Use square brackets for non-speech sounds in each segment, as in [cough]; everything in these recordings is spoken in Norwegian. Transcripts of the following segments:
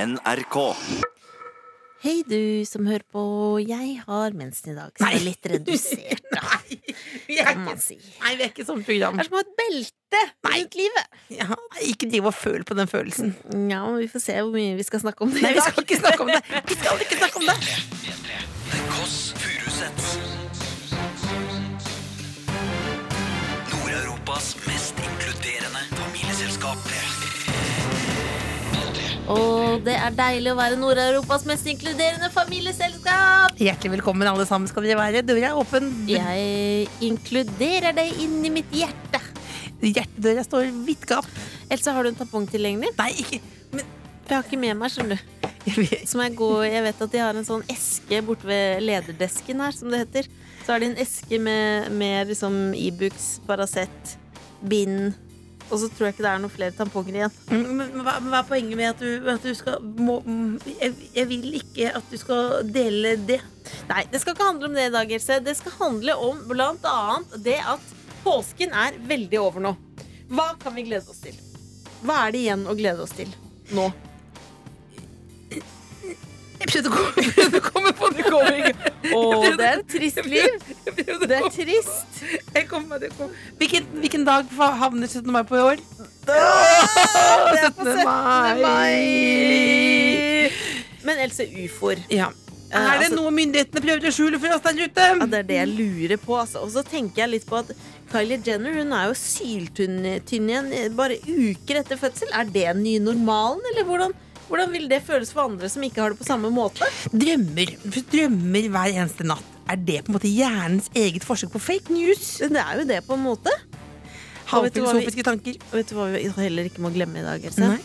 NRK. Hei, du som hører på. Jeg har mensen i dag, så det er litt redusert, [laughs] Nei, vi er kan ikke, man si. Det nei, vi er ikke sånn program. er som å ha et belte rundt livet. Ja, ikke driv og føl på den følelsen. Ja, men vi får se hvor mye vi skal snakke om det Nei, i vi dag. skal ikke snakke om det! Vi skal ikke snakke om det! The Kåss Furuseths. Nord-Europas mest inkluderende familieselskap. Og det er deilig [laughs] å være Nord-Europas mest inkluderende familieselskap! Hjertelig velkommen, alle sammen skal dere være. Døra er åpen. Jeg inkluderer deg inn i mitt hjerte. Hjertedøra står vidt gap. Elsa, har du en tampong tilgjengelig? Nei, ikke Men For jeg har ikke med meg, skjønner du. jeg vet- Så må jeg gå Jeg vet at de har en sånn eske borte ved lederdesken her, som det heter. Så har de en eske med, med liksom Ibux, Paracet, bind Og så tror jeg ikke det er noen flere tamponger igjen. men, men, hva, men hva er poenget med at du, at du skal må, mm, jeg, jeg vil ikke at du skal dele det. Nei, det skal ikke handle om det i dag, Else. Det skal handle om blant annet det at påsken er veldig over nå. Hva kan vi glede oss til? Hva er det igjen å glede oss til [laughs] nå? Jeg prøvde å komme, [laughs] jeg prøvde å komme på det. Å, det er et trist liv. [laughs] Jeg prøvde å Det er komme- trist. jeg kom, jeg kom. Hvilken, hvilken dag havner 17. mai på i år? Det er på 17. mai. Men Else, ufoer. Ja. Er det altså- noe myndighetene prøver å skjule for oss der ute? Ja, det er det jeg lurer på. Altså. Og så tenker jeg litt på at Kylie Jenner hun er jo syltynn tynn igjen eh, bare uker etter fødsel. Er det den nye normalen, eller hvordan, hvordan vil det føles for andre som ikke har det på samme måte? Drømmer. Vi drømmer hver eneste natt. Er det på en måte hjernens eget forsøk på fake news? Det er jo det, på en måte. Og vet du hva vi- Halvfilosofiske tanker. Og vet du hva vi heller ikke må glemme i dag, Else? Nei.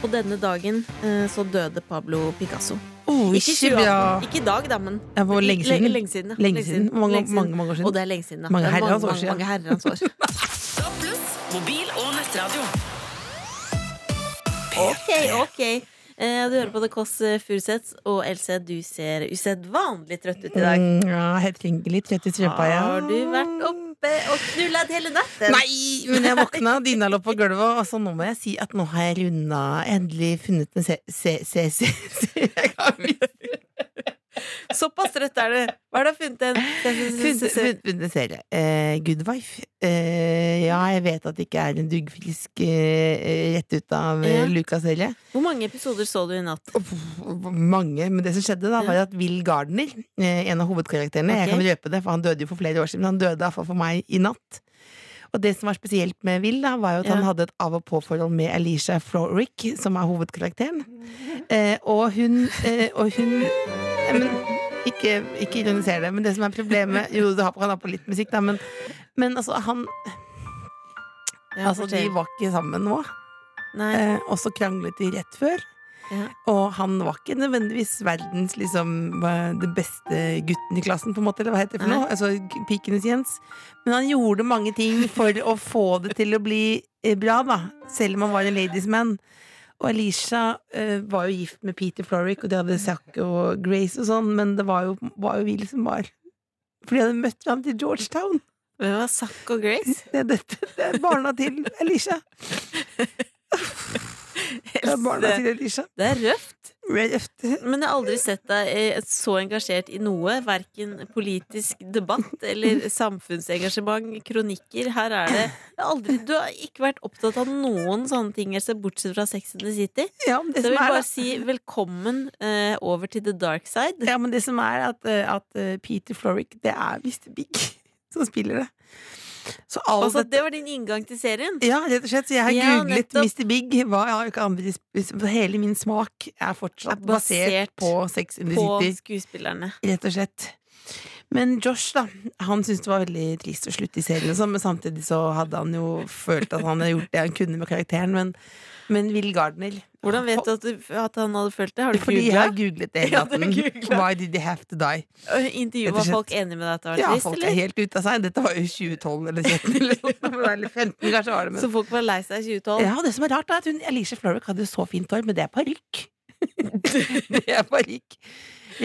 På denne dagen eh, så døde Pablo Picasso. Oh, Ikke, ikke 2018. bra. ikke i dag, da, men Ja, hvor lenge siden? Le- Lenge siden, ja. Lenge siden. Mange, Lenge siden. mange, mange år siden. Og det er lenge siden, da. Mange Det er herrens år mange, siden. mange herrens år. [laughs] Mobil og nettradio. Ok, ok. Eh, Du hører på The Kåss Furuseths, og Else, du ser usedvanlig trøtt ut i dag. Mm, Ja, helt ringelig. Trøtt i strømpa, ja. Har du vært oppe og knullet hele natten? Nei, men jeg våkna, dyna lå på gulvet, og så nå må jeg si at nå har jeg runda Endelig funnet en se... se... se... se, se. Jeg kan ikke- Såpass trøtt er du. Hva har du funnet en? Funnet, funnet, funnet en serie. Eh, good Wife. Eh, ja, jeg vet at det ikke er en duggfrisk eh, rett ut av Ja. eh, Lucas-serie. Hvor mange episoder så du i natt? Mange. Men det som skjedde, da var at Will Gardner, eh, en av hovedkarakterene Jeg Ok. kan røpe det, for han døde jo for flere år siden. men Han døde iallfall for meg i natt. Og det som var spesielt med Will, da, var jo at Ja. han hadde et av-og-på-forhold med Alicia Florrick, som er hovedkarakteren. Eh, og hun, eh, og hun Nei, men, ikke, ikke ironiser det, men det som er problemet Jo, du har på, han har på litt musikk, da, men, men altså, han Ja, Altså, de fortell. var ikke sammen nå. Nei. Eh, og så kranglet de rett før. Ja. Og han var ikke nødvendigvis verdens liksom, eh, den beste gutten i klassen, på en måte, eller hva heter det for Nei. noe? Altså g- pikenes Jens. Men han gjorde mange ting for å få det til å bli eh, bra, da. Selv om han var en ladies man. Og Alicia eh, var jo gift med Peter Florrick, og de hadde Zack og Grace og sånn, men det var jo, var jo vi som var For de hadde møtt hverandre til Georgetown. Hvem var Zack og Grace? Det er, dette, det er barna til Alicia. Det er barna til Alicia. Det er røft. Røft. Men jeg har aldri sett deg eh, så engasjert i noe. Verken politisk debatt [laughs] eller samfunnsengasjement, kronikker. Her er det jeg har aldri, Du har ikke vært opptatt av noen sånne ting, Else, bortsett fra Sex and the City. Ja, men det, Så jeg som vil er, bare si velkommen eh, over til the dark side. ja, men det som er at, eh, at eh, Peter Florrick, det er Mr. Big [laughs] som spiller det. Så alt Altså, dette- det var din inngang til serien. ja, rett og slett. Så jeg har Ja, googlet nettopp. Mr. Big. Hva, jeg har jo ikke andre, dis- hele min smak er fortsatt Er basert basert, på Sex in the På City. skuespillerne. Rett og slett. Men Josh, da, han syntes det var veldig trist å slutte i serien, og sånn, men samtidig så hadde han jo følt at han hadde gjort det han kunne med karakteren, men, men Will Gardner Hvordan vet du at, du at han hadde følt det? Har du Fordi jeg har googla? googlet det hele Ja, du har natten. googlet. Why did they have to die? Intervjuet Rett og var slett. folk enige med deg at det var Ja, trist, folk er eller? helt ute av seg. Dette var jo 2012 eller [laughs] 2013 eller noe. Eller 15, kanskje var det. Men. Så folk var lei seg i 2012? Ja, og det som er rart, er at hun, Alicia Florrick hadde jo så fint hår, men det er parykk. [laughs] det er parykk,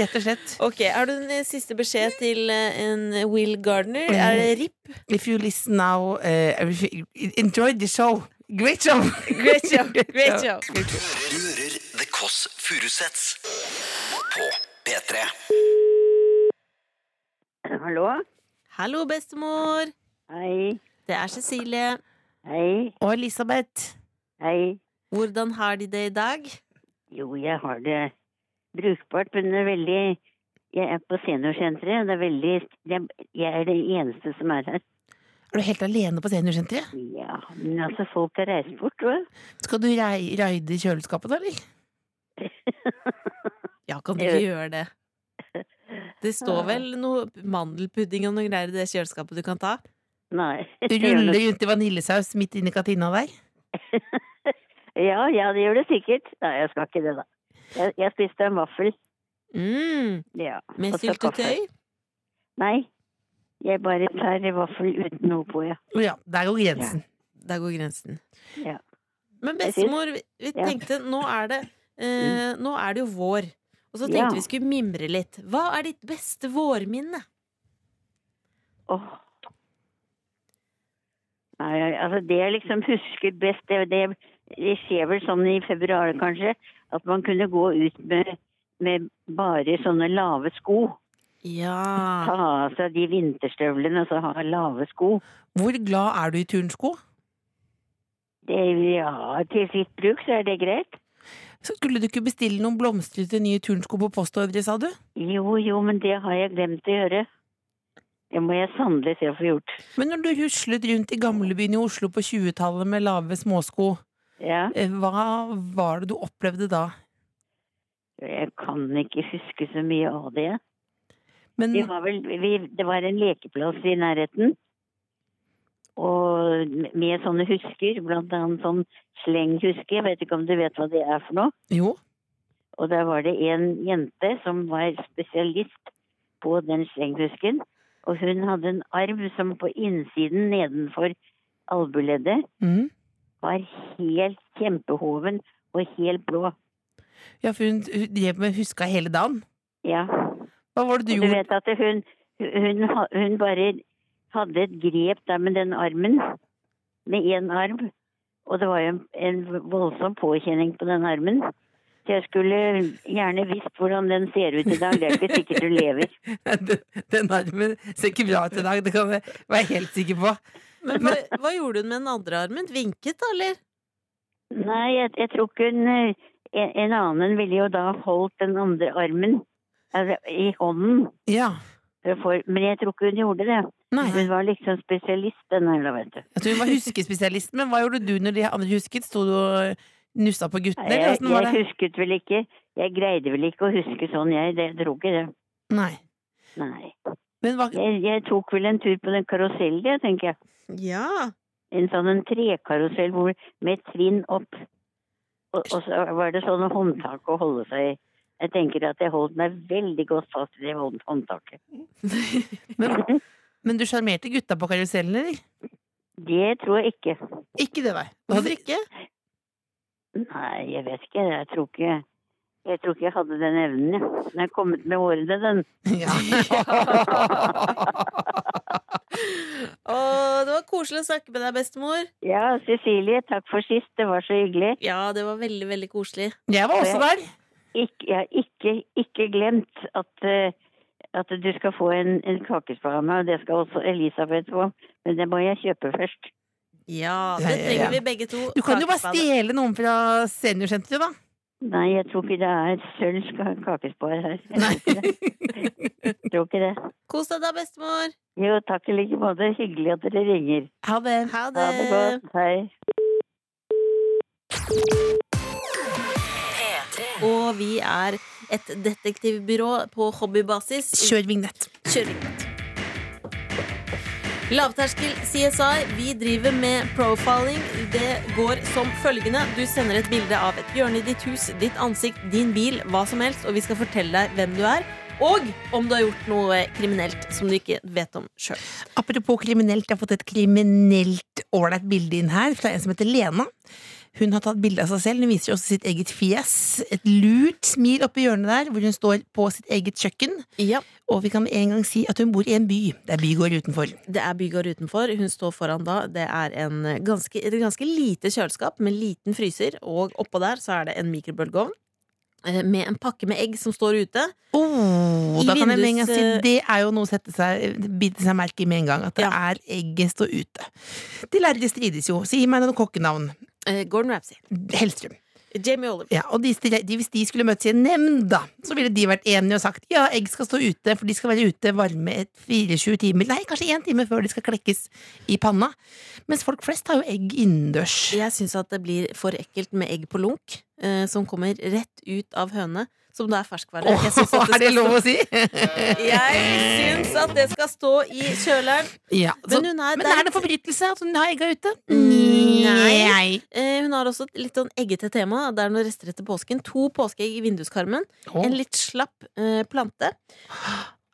rett og slett. Ok, Har du en eh, siste beskjed til eh, en Will Gardner? Mm. Er det RIP? If you listen now, eh, everything- [laughs] enjoy the show. Great show! Great show. Great show. Du hører The Kåss Kåss Furuseths. På P3. Hallo? Hallo, bestemor! Hei. Det er Cecilie. Hei. Og Elisabeth. Hei. Hvordan har de det i dag? Jo, jeg har det brukbart, men det er veldig Jeg er på seniorsenteret. Det er veldig Jeg jeg er den eneste som er her. Er du helt alene på seniorsenteret? Ja, men altså, folk har reist bort, vet du. Skal du rei- raide kjøleskapet da, eller? Ja, kan du ikke gjøre det? Det står vel noe mandelpudding og noe greier i det kjøleskapet du kan ta? Nei. [laughs] Du ruller rundt i vaniljesaus midt inni kantina der? Ja, ja, det gjør det sikkert. Nei, jeg skal ikke det, da. Jeg, jeg spiste en vaffel. Mm, Ja. med og så kaffe. syltetøy? Nei. Jeg bare tar en vaffel uten noe på, ja. Å Ja, der går grensen. Der går grensen. Ja. Men bestemor, vi, vi Ja. Mm. tenkte nå er, det, eh, nå er det jo vår. Og så tenkte Ja. vi skulle mimre litt. Hva er ditt beste vårminne? Åh. Nei, altså det jeg liksom husker best, det, det, det skjer vel sånn i februar kanskje, at man kunne gå ut med, med bare sånne lave sko. Ta Ja. av seg de vinterstøvlene og så ha lave sko. Hvor glad er du i turnsko? Det, ja, til sitt bruk så er det greit. Så skulle du ikke bestille noen blomstrete nye turnsko på postordre, sa du? Jo, jo, men det har jeg glemt å gjøre. Det må jeg sannelig se å få gjort. Men når du ruslet rundt i gamlebyen i Oslo på 20-tallet med lave småsko, Ja, eh, hva var det du opplevde da? jeg kan ikke huske så mye av det. Men Vi Mm. var vel, vi, det var en lekeplass i nærheten. Og med sånne husker, blant annet sånn slenghuske, jeg vet ikke om du vet hva det er for noe. jo, Og der var det en jente som var spesialist på den slenghusken. Og hun hadde en arm som på innsiden nedenfor albueleddet mm. var helt kjempehoven og helt blå. ja, for hun hun drev med huska hele dagen. Ja. Hva var det du Og du gjorde? vet at hun, hun, ha- hun bare hadde et grep der med den armen. Med én arm. Og det var jo en, en voldsom påkjenning på den armen. Så jeg skulle gjerne visst hvordan den ser ut i dag. Det er ikke sikkert hun lever. [laughs] Den- Den armen ser ikke bra ut i dag, det kan jeg være helt sikker på. Men hva, hva gjorde hun med den andre armen? Vinket, da, eller? Nei, jeg, jeg tror ikke hun eh, en, en annen ville jo da holdt den andre armen altså, i hånden. Ja, for å få- Men jeg tror ikke hun gjorde det. nei. Hun var liksom spesialist, den her, da, vet du. Jeg tror hun var huskespesialist, men hva gjorde du når de andre husket? Sto du og nussa på guttene, eller Jeg, åssen var jeg det? husket vel ikke Jeg greide vel ikke å huske sånn, jeg. Det, jeg tror ikke det. Nei. Nei. Men hva, Jeg, jeg tok vel en tur på den karusellen, jeg, tenker jeg. Ja. En sånn en trekarusell hvor- med trinn opp. Og, og så var det sånne håndtak å holde seg i. Jeg tenker at jeg holdt meg veldig godt fast i det hånd- håndtaket. men, men du sjarmerte gutta på karusellen, eller? Det tror jeg ikke. Ikke det, nei. Du Hvorfor hadde, [laughs] ikke? Nei, jeg vet ikke. Jeg tror ikke jeg tror ikke jeg hadde den evnen, jeg. Den er kommet med årene, den. ja. Å, det var koselig å snakke med deg, bestemor. Ja, Cecilie, takk for sist. Det var så hyggelig. Ja, det var veldig, veldig koselig. Jeg var også der. Ikke, jeg har ikke, ikke glemt at, eh, at du skal få en, en kakespa av meg, og det skal også Elisabeth få. Men det må jeg kjøpe først. Ja, det Ja, ja, ja. trenger vi begge to. Du kan jo bare Kakespann. stjele noen fra seniorsenteret, da. Nei, jeg tror ikke det er sølv ska- kakespa her. Jeg tror ikke det. Jeg tror ikke det. Kos deg da, bestemor. Jo, takk i like måte. Hyggelig at dere ringer. Ha det. Ha det. Ha det godt. Hei. Og vi er et detektivbyrå på hobbybasis. Kjør vignett. Kjør vignett. Lavterskel CSI. Vi driver med profiling. Det går som følgende. Du sender et bilde av et hjørne i ditt hus, ditt ansikt, din bil, hva som helst, og vi skal fortelle deg hvem du er, og om du har gjort noe kriminelt som du ikke vet om sjøl. Apropos kriminelt, jeg har fått et kriminelt ålreit bilde inn her fra en som heter Lena. Hun har tatt bilde av seg selv. Hun viser også sitt eget fjes. Et lurt smil oppi hjørnet der, hvor hun står på sitt eget kjøkken. Ja. Og vi kan med en gang si at hun bor i en by. Det er bygård utenfor. Det er bygård utenfor. Hun står foran da. Det er en ganske, et ganske lite kjøleskap med liten fryser, og oppå der så er det en mikrobølgeovn. eh, med en pakke med egg som står ute. Oh, I da kan jeg med en gang vindus, si eh, Det er jo noe å sette seg, bite seg merke i med en gang. At det Ja. er egget står ute. De lærde strides jo. Si meg noen kokkenavn. Eh, Gordon Ramsay. Hellstrøm. Jamie Oliver. Ja, og de, stre- de, hvis de skulle møtes i en nemnd, da, så ville de vært enige og sagt ja, egg skal stå ute, for de skal være ute varme et 24 timer, nei, kanskje én time før de skal klekkes i panna. Mens folk flest har jo egg innendørs. Jeg syns at det blir for ekkelt med egg på lunk, eh, som kommer rett ut av høne, som da er ferskvare. Åh, Jeg syns at er skal det lov å si? stå- Jeg syns at det skal stå i kjøleren. ja, så, Men hun er men der- er det en forbrytelse at hun har egga ute? Nei. Eh, Hun har også et litt sånn eggete tema. Det er noen rester etter påsken. To påskeegg i vinduskarmen. Åh. En litt slapp eh, plante.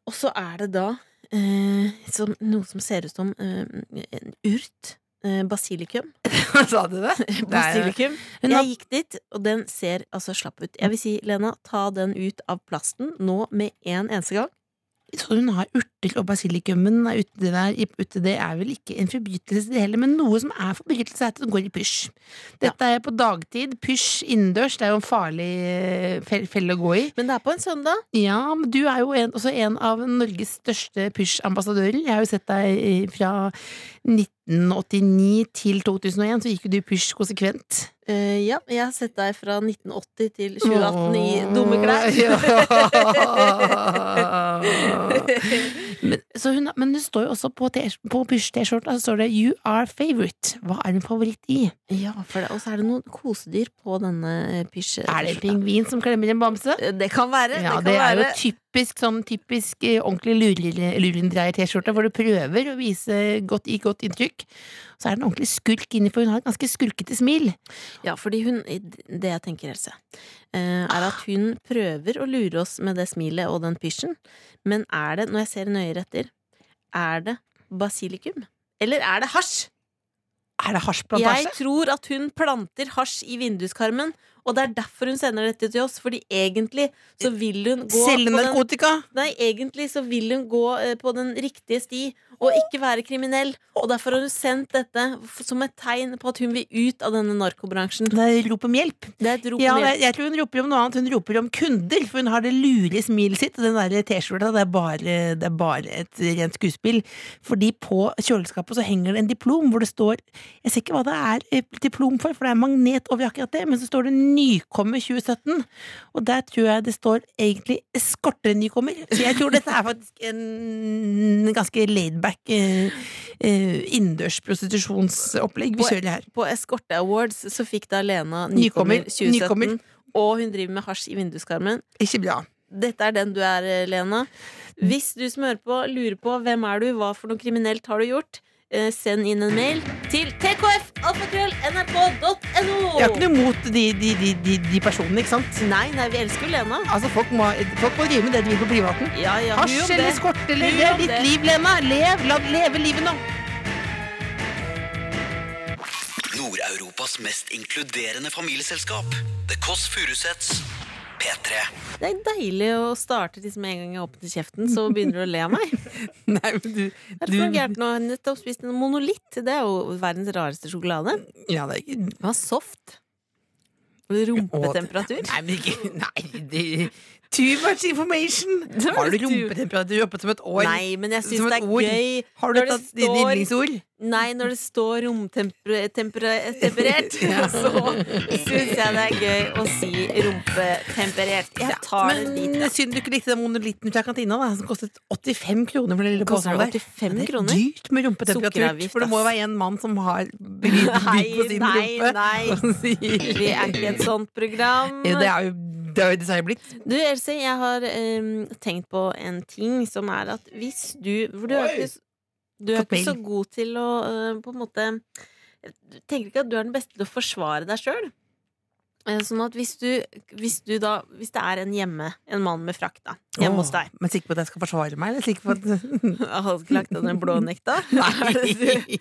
Og så er det da eh, som, noe som ser ut som eh, en urt. Eh, basilikum. [laughs] Sa du det? det er, Basilikum. hun har Jeg gikk dit, og den ser altså slapp ut. Jeg vil si, Lena, ta den ut av plasten nå med en eneste gang. Så hun har urter og basilikumen er ute det der ute, Det er vel ikke en forbrytelse det heller, men noe som er forbrytelse, er at den går i pysj. Dette er på dagtid. Pysj innendørs, det er jo en farlig eh, fel- felle å gå i. Men det er på en søndag. Ja, men du er jo en, også en av Norges største pysjambassadører. Jeg har jo sett deg eh, fra 1989 til 2001, så gikk jo du pysj konsekvent. Eh, ja, jeg har sett deg fra 1980 til 2018 i dumme [laughs] [laughs] Ja. klær. Men, så hun, men det står jo også på, T- på pysj-T-skjorta Så står det 'You are favorite'. Hva er din favoritt i? Ja, for det, og så er det noen kosedyr på denne eh, pysj... Er det en pingvin som klemmer en bamse? Eh, Det kan være. Ja, det kan det er jo være. typisk sånn typisk eh, ordentlig lurer- lurendreier-T-skjorte, hvor du prøver å vise godt, i godt inntrykk. Så er det en ordentlig skulk inni, for hun har et ganske skulkete smil. Ja, fordi hun Det jeg tenker, Else, eh, er at hun prøver å lure oss med det smilet og den pysjen, men er det, når jeg ser nøyere etter, er det basilikum? Eller er det hasj? Er det Jeg hasjplantasje? tror at hun planter hasj i vinduskarmen, og det er derfor hun sender dette til oss, fordi egentlig så vil hun gå på Selge den narkotika? Nei, egentlig så vil hun gå eh, på den riktige sti og ikke være kriminell. Og derfor har hun sendt dette f- som et tegn på at hun vil ut av denne narkobransjen. Det er rop om hjelp. Det er et rop Ja, om jeg, hjelp. jeg tror hun roper om noe annet. Hun roper om kunder, for hun har det lure smilet sitt. Og den der T-skjorta, det, er bare- det er bare et rent skuespill. Fordi på kjøleskapet så henger det en diplom hvor det står Jeg ser ikke hva det er eh, diplom for, for det er magnet over akkurat det, men så står det 'Nykommer 2017'. Og der tror jeg det står egentlig 'Eskorte nykommer'. Så jeg tror dette er faktisk en ganske laidback eh, eh, innendørs prostitusjonsopplegg vi kjører her. På Eskorte Awards så fikk da Lena Nykommer, nykommer 2017, nykommer. og hun driver med hasj i vinduskarmen. Ikke bra. Dette er den du er, eh, Lena. Hvis du som hører på, lurer på hvem er du, hva for noe kriminelt har du gjort, eh, send inn en mail til tkfalfakrøll.nrk.no. Jeg har ikke noe imot de, de, de, de, de personene, ikke sant? Nei, nei, vi elsker jo Lena. Altså, folk må, folk må drive med det de vil på privaten. Ja, ja, hun om Hasj eller det. skort eller Hun Det om er ditt det. liv, Lena. Lev, la leve livet nå. Nord-Europas mest inkluderende familieselskap. The Kåss Furuseths. P3. Det er deilig å starte liksom med en gang jeg åpner kjeften, så begynner du å le [laughs] av meg. Nei, men du, Er det for noe gærent nå? Jeg har nettopp spist en monolitt. Det er jo verdens rareste sjokolade. ja, det er ikke Den var soft. Rumpetemperatur. Nei, men ikke Nei, det, too much information. [laughs] Det var Har du du- rumpetemperatur oppe som et år? Nei, men jeg Som syns et det er ord. gøy Har når du det tatt dine står- yndlingsord? Nei, når det står [laughs] romtemperert, [laughs] så syns jeg det er gøy å si rumpetemperert. Jeg tar det Men dit. da. synd du ikke likte den monolitten fra kantina, da, som kostet 85 kroner for den lille Koster posen det der. 85 Ja, det er kroner? Dyrt med rumpetemperatur. Sukkeravgift, For det må jo ass. være en mann som har [laughs] bygd bygd på sin Nei, rumpe. [laughs] nei, og sier- Vi er ikke et sånt program. [laughs] Ja, det er jo det er jo det som er blitt. Du, Else, jeg har em, tenkt på en ting som er at hvis du For du er ikke, s- du er Fått ikke så mail. god til å eh, på en måte Jeg tenker ikke at du er den beste til å forsvare deg sjøl. Sånn at hvis du, hvis du da Hvis det er en hjemme, en mann med frakk, da, hjemme hos Åh, deg [laughs] Men sikker på at jeg skal forsvare meg? Eller sikker på at [laughs] Halsklagt av den blå nekta? [laughs] Nei.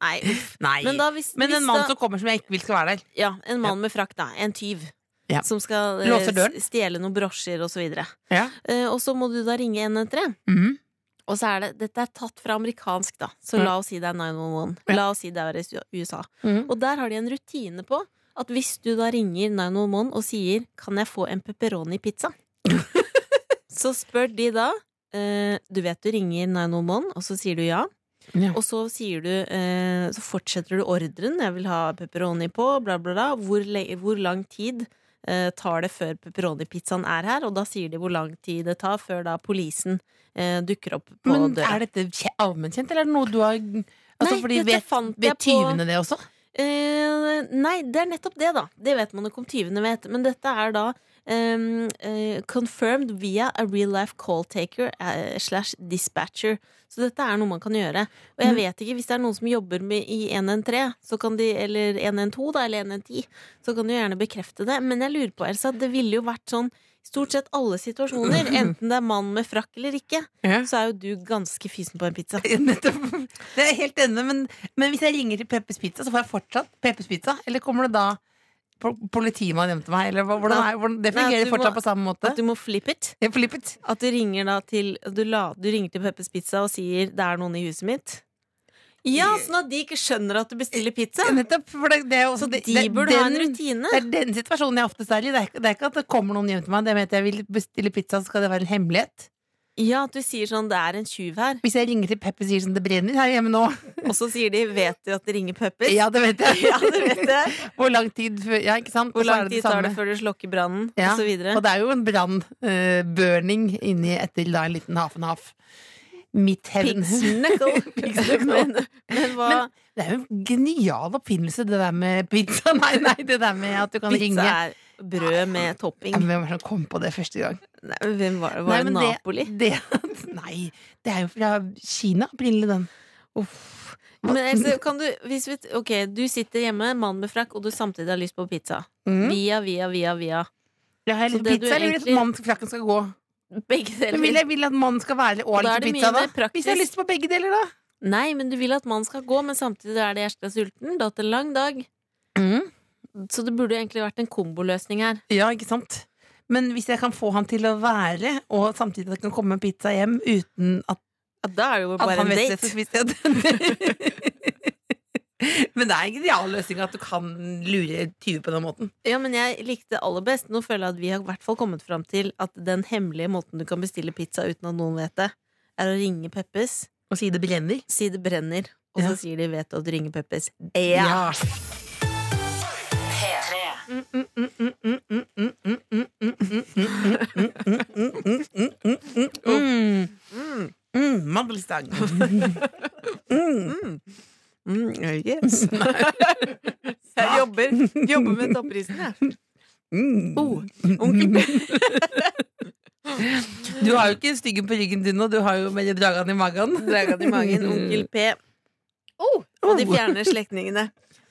Nei. uff. Nei. Men, da, hvis, Men hvis en mann da, som kommer som jeg ikke vil skal være der. Ja, en mann med frakk, da. En tyv. Ja. Som skal eh, Låser døren. stjele noen brosjer og så videre. Ja. Eh, og så må du da ringe 113. Mhm. Og så er det, dette er tatt fra amerikansk, da. Så Ja. la oss si det er 911. La oss si det er i USA. Mhm. Og der har de en rutine på at hvis du da ringer 911 og sier 'Kan jeg få en pepperoni-pizza?' [laughs] så spør de da eh, Du vet du ringer 911, og så sier du ja. Ja. Og så sier du eh, Så fortsetter du ordren. 'Jeg vil ha pepperoni på', bla, bla, bla. Hvor, le- hvor lang tid eh, tar det før pepperoni-pizzaen er her? Og da sier de hvor lang tid det tar før da politien eh, dukker opp på Men døra. er dette kje- allmennkjent, eller er det noe du har altså, Nei, fordi dette Vet, fant jeg vet på- tyvene det også? Eh, nei, det er nettopp det, da. Det vet man ikke om tyvene vet. Men dette er da ehm, eh, confirmed via a real life call taker eh, slash dispatcher. Så dette er noe man kan gjøre. Og jeg vet ikke, hvis det er noen som jobber med i 113, så kan de, eller 112 da, eller 110, så kan du gjerne bekrefte det. Men jeg lurer på, Elsa, det ville jo vært sånn i Stort sett alle situasjoner, enten det er mann med frakk eller ikke, Ja. så er jo du ganske fysen på en pizza. [laughs] Nettopp. Det er jeg helt enig, men, men hvis jeg ringer til Peppers Pizza, så får jeg fortsatt Peppers Pizza? Eller kommer det da po- politimannen hjem til meg? Eller hva- hvordan er, hvordan, det Nei, at fungerer du fortsatt må- på samme måte? At du må flip it. Jeg flippet. At du ringer da til du, la, du ringer til Peppers Pizza og sier 'det er noen i huset mitt'? Ja, sånn at de ikke skjønner at du bestiller pizza. [laughs] Nettopp, for det, det er også Så det- de det- burde ha en den- rutine. Det er den situasjonen jeg oftest er i. Det er, ikke- det er ikke at det kommer noen hjem til meg. Det med at jeg vil bestille pizza, så skal det være en hemmelighet. Ja, at du sier sånn 'det er en tjuv her', Hvis jeg ringer til Peppers sier sånn, det brenner her hjemme nå. [laughs] og så sier de 'vet du at det ringer Peppers'? Ja, det vet jeg. [laughs] Ja, det vet jeg. Hvor lang tid før Ja, ikke sant? Hvor Og så er lang tid tar det før du slokker brannen? Ja, Og så videre. Og det er jo en brannburning inni etter da en liten half and half. Mitt hevn. Pigs knuckle. men, men hva Men [laughs] det er jo en genial oppfinnelse, det der med pizza. [laughs] Nei, nei, det der med at du kan Pizza ringe. er brød med topping. Ja, men Hvem var det som kom på det første gang? Nei, men Hvem var det? Var Nei, det men Napoli? Det, det, [laughs] nei, det er jo fra Kina opprinnelig, den. Uff. Men Else, kan du, hvis vi, ok, du sitter hjemme, mann med frakk, og du samtidig har lyst på pizza. Mm. Via, via, via, via. Jeg har Så lyst på det du pizza, eller vil jeg egentlig- at mannen til frakken skal gå? [laughs] Begge Men vil deler. jeg vil at mannen skal være Og da årlig er til det mye pizza, da? mer praktisk. Hvis jeg har lyst på begge deler, da? Nei, men du vil at mannen skal gå, men samtidig er det hjertelig sulten. Du har hatt en lang dag. Mm. Så det burde egentlig vært en komboløsning her. Ja, ikke sant? Men hvis jeg kan få han til å være, og samtidig at det kan komme en pizza hjem uten at, Ja, da er det jo at bare han en vet det, date. så spiser jeg den. Men det er en genial løsning at du kan lure tyver på den måten. Ja, men jeg likte aller best. Nå føler jeg at vi har i hvert fall kommet fram til at den hemmelige måten du kan bestille pizza uten at noen vet det, er å ringe Peppes, Og si det brenner. si det brenner, og Ja. så sier de 'vet du at du ringer Peppes'. Ja. Mm, mm, mm, mm, mm, mm, mm, mm, mm, mm, mm, mm, mm, mm, mm. Mm, Mandelstang. Mm, [laughs] yes. [laughs] jeg jobber, jobber med topprisen, jeg. Mm. Oh, onkel P. Du har jo ikke styggen på ryggen din nå, du har jo bare dragene i magen. Dragan i magen, onkel P. Oh, og de fjerne slektningene.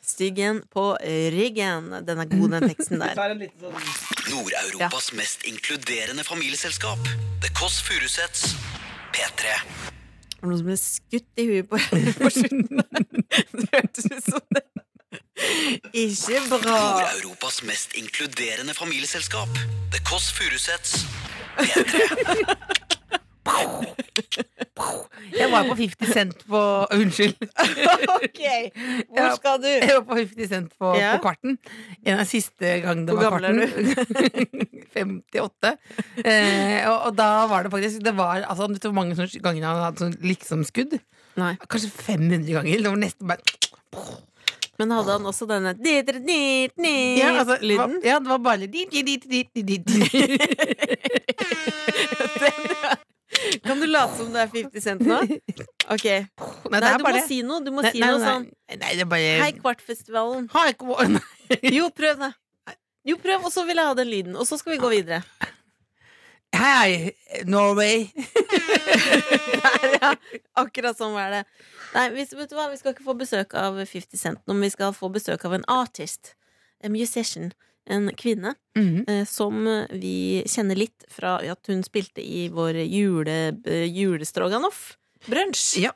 Styggen på ryggen. Den er god, den teksten der. Nord-Europas mest inkluderende familieselskap. The Kåss Furuseths. P3. Det var noen som ble skutt i huet på, [laughs] på slutten der. Det hørtes ut som det. Ikke bra. Nord-Europas mest inkluderende familieselskap. The Kåss Furuseths. Jeg var på 50 Cent på Unnskyld. [laughs] Ok, hvor skal du? Jeg var på 50 Cent på, Ja. på kvarten. En av siste gang det Hvor var gammel kvarten. er [laughs] 58. Eh, og, og da var det faktisk Det var altså, vet du hvor mange sånne ganger han hadde sånn liksom-skudd? Nei. Kanskje 500 ganger. Det var nesten bare Men hadde han også denne ja, altså, det var- lyden? [laughs] Ja, det var bare dit, dit, dit, dit, dit, dit. Kan du late som du er 50 Cent [laughs] nå? Ok. Nei, Nei, det er du må bare det. si noe. Du må Nei, si nei, noe nei, sånn Nei, det er bare Hei, Kvartfestivalen. Hei, kva- Jo, prøv det. Jo, prøv, og så vil jeg ha den lyden. Og så skal vi gå videre. Hei, Norway. [laughs] ja, akkurat sånn er det. Nei, vi, vet du hva? vi skal ikke få besøk av 50 Cent, nå, men vi skal få besøk av en artist. En musician. En kvinne Mhm. eh, som vi kjenner litt fra at hun spilte i vår jule, eh, julestroganoff-brunsj. Ja.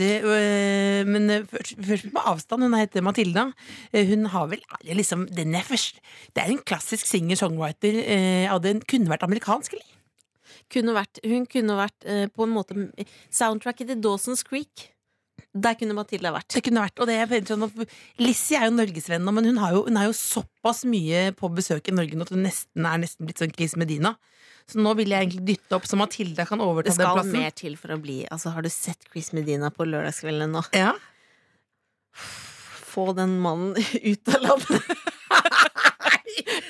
Det, øh, men øh, først, først på avstand. Hun heter Matilda. Eh, Hun har vel er det liksom, den er først, Det er en klassisk singer-songwriter. eh, Ja, den kunne vært amerikansk, eller? Kunne vært, hun kunne vært eh, på en måte soundtracket til Dawson's Creek. Der kunne Matilda vært. Det kunne vært, og det er veldig sånn at- Lissi er jo norgesvenn nå, men hun, har jo, hun er jo såpass mye på besøk i Norge nå at hun nesten er nesten blitt sånn Chris Medina. Så nå vil jeg egentlig dytte opp så Matilda kan overta Det den skal plassen. mer til for å bli Altså, har du sett Chris Medina på lørdagskveldene nå? Ja. Få den mannen [laughs] ut av landet.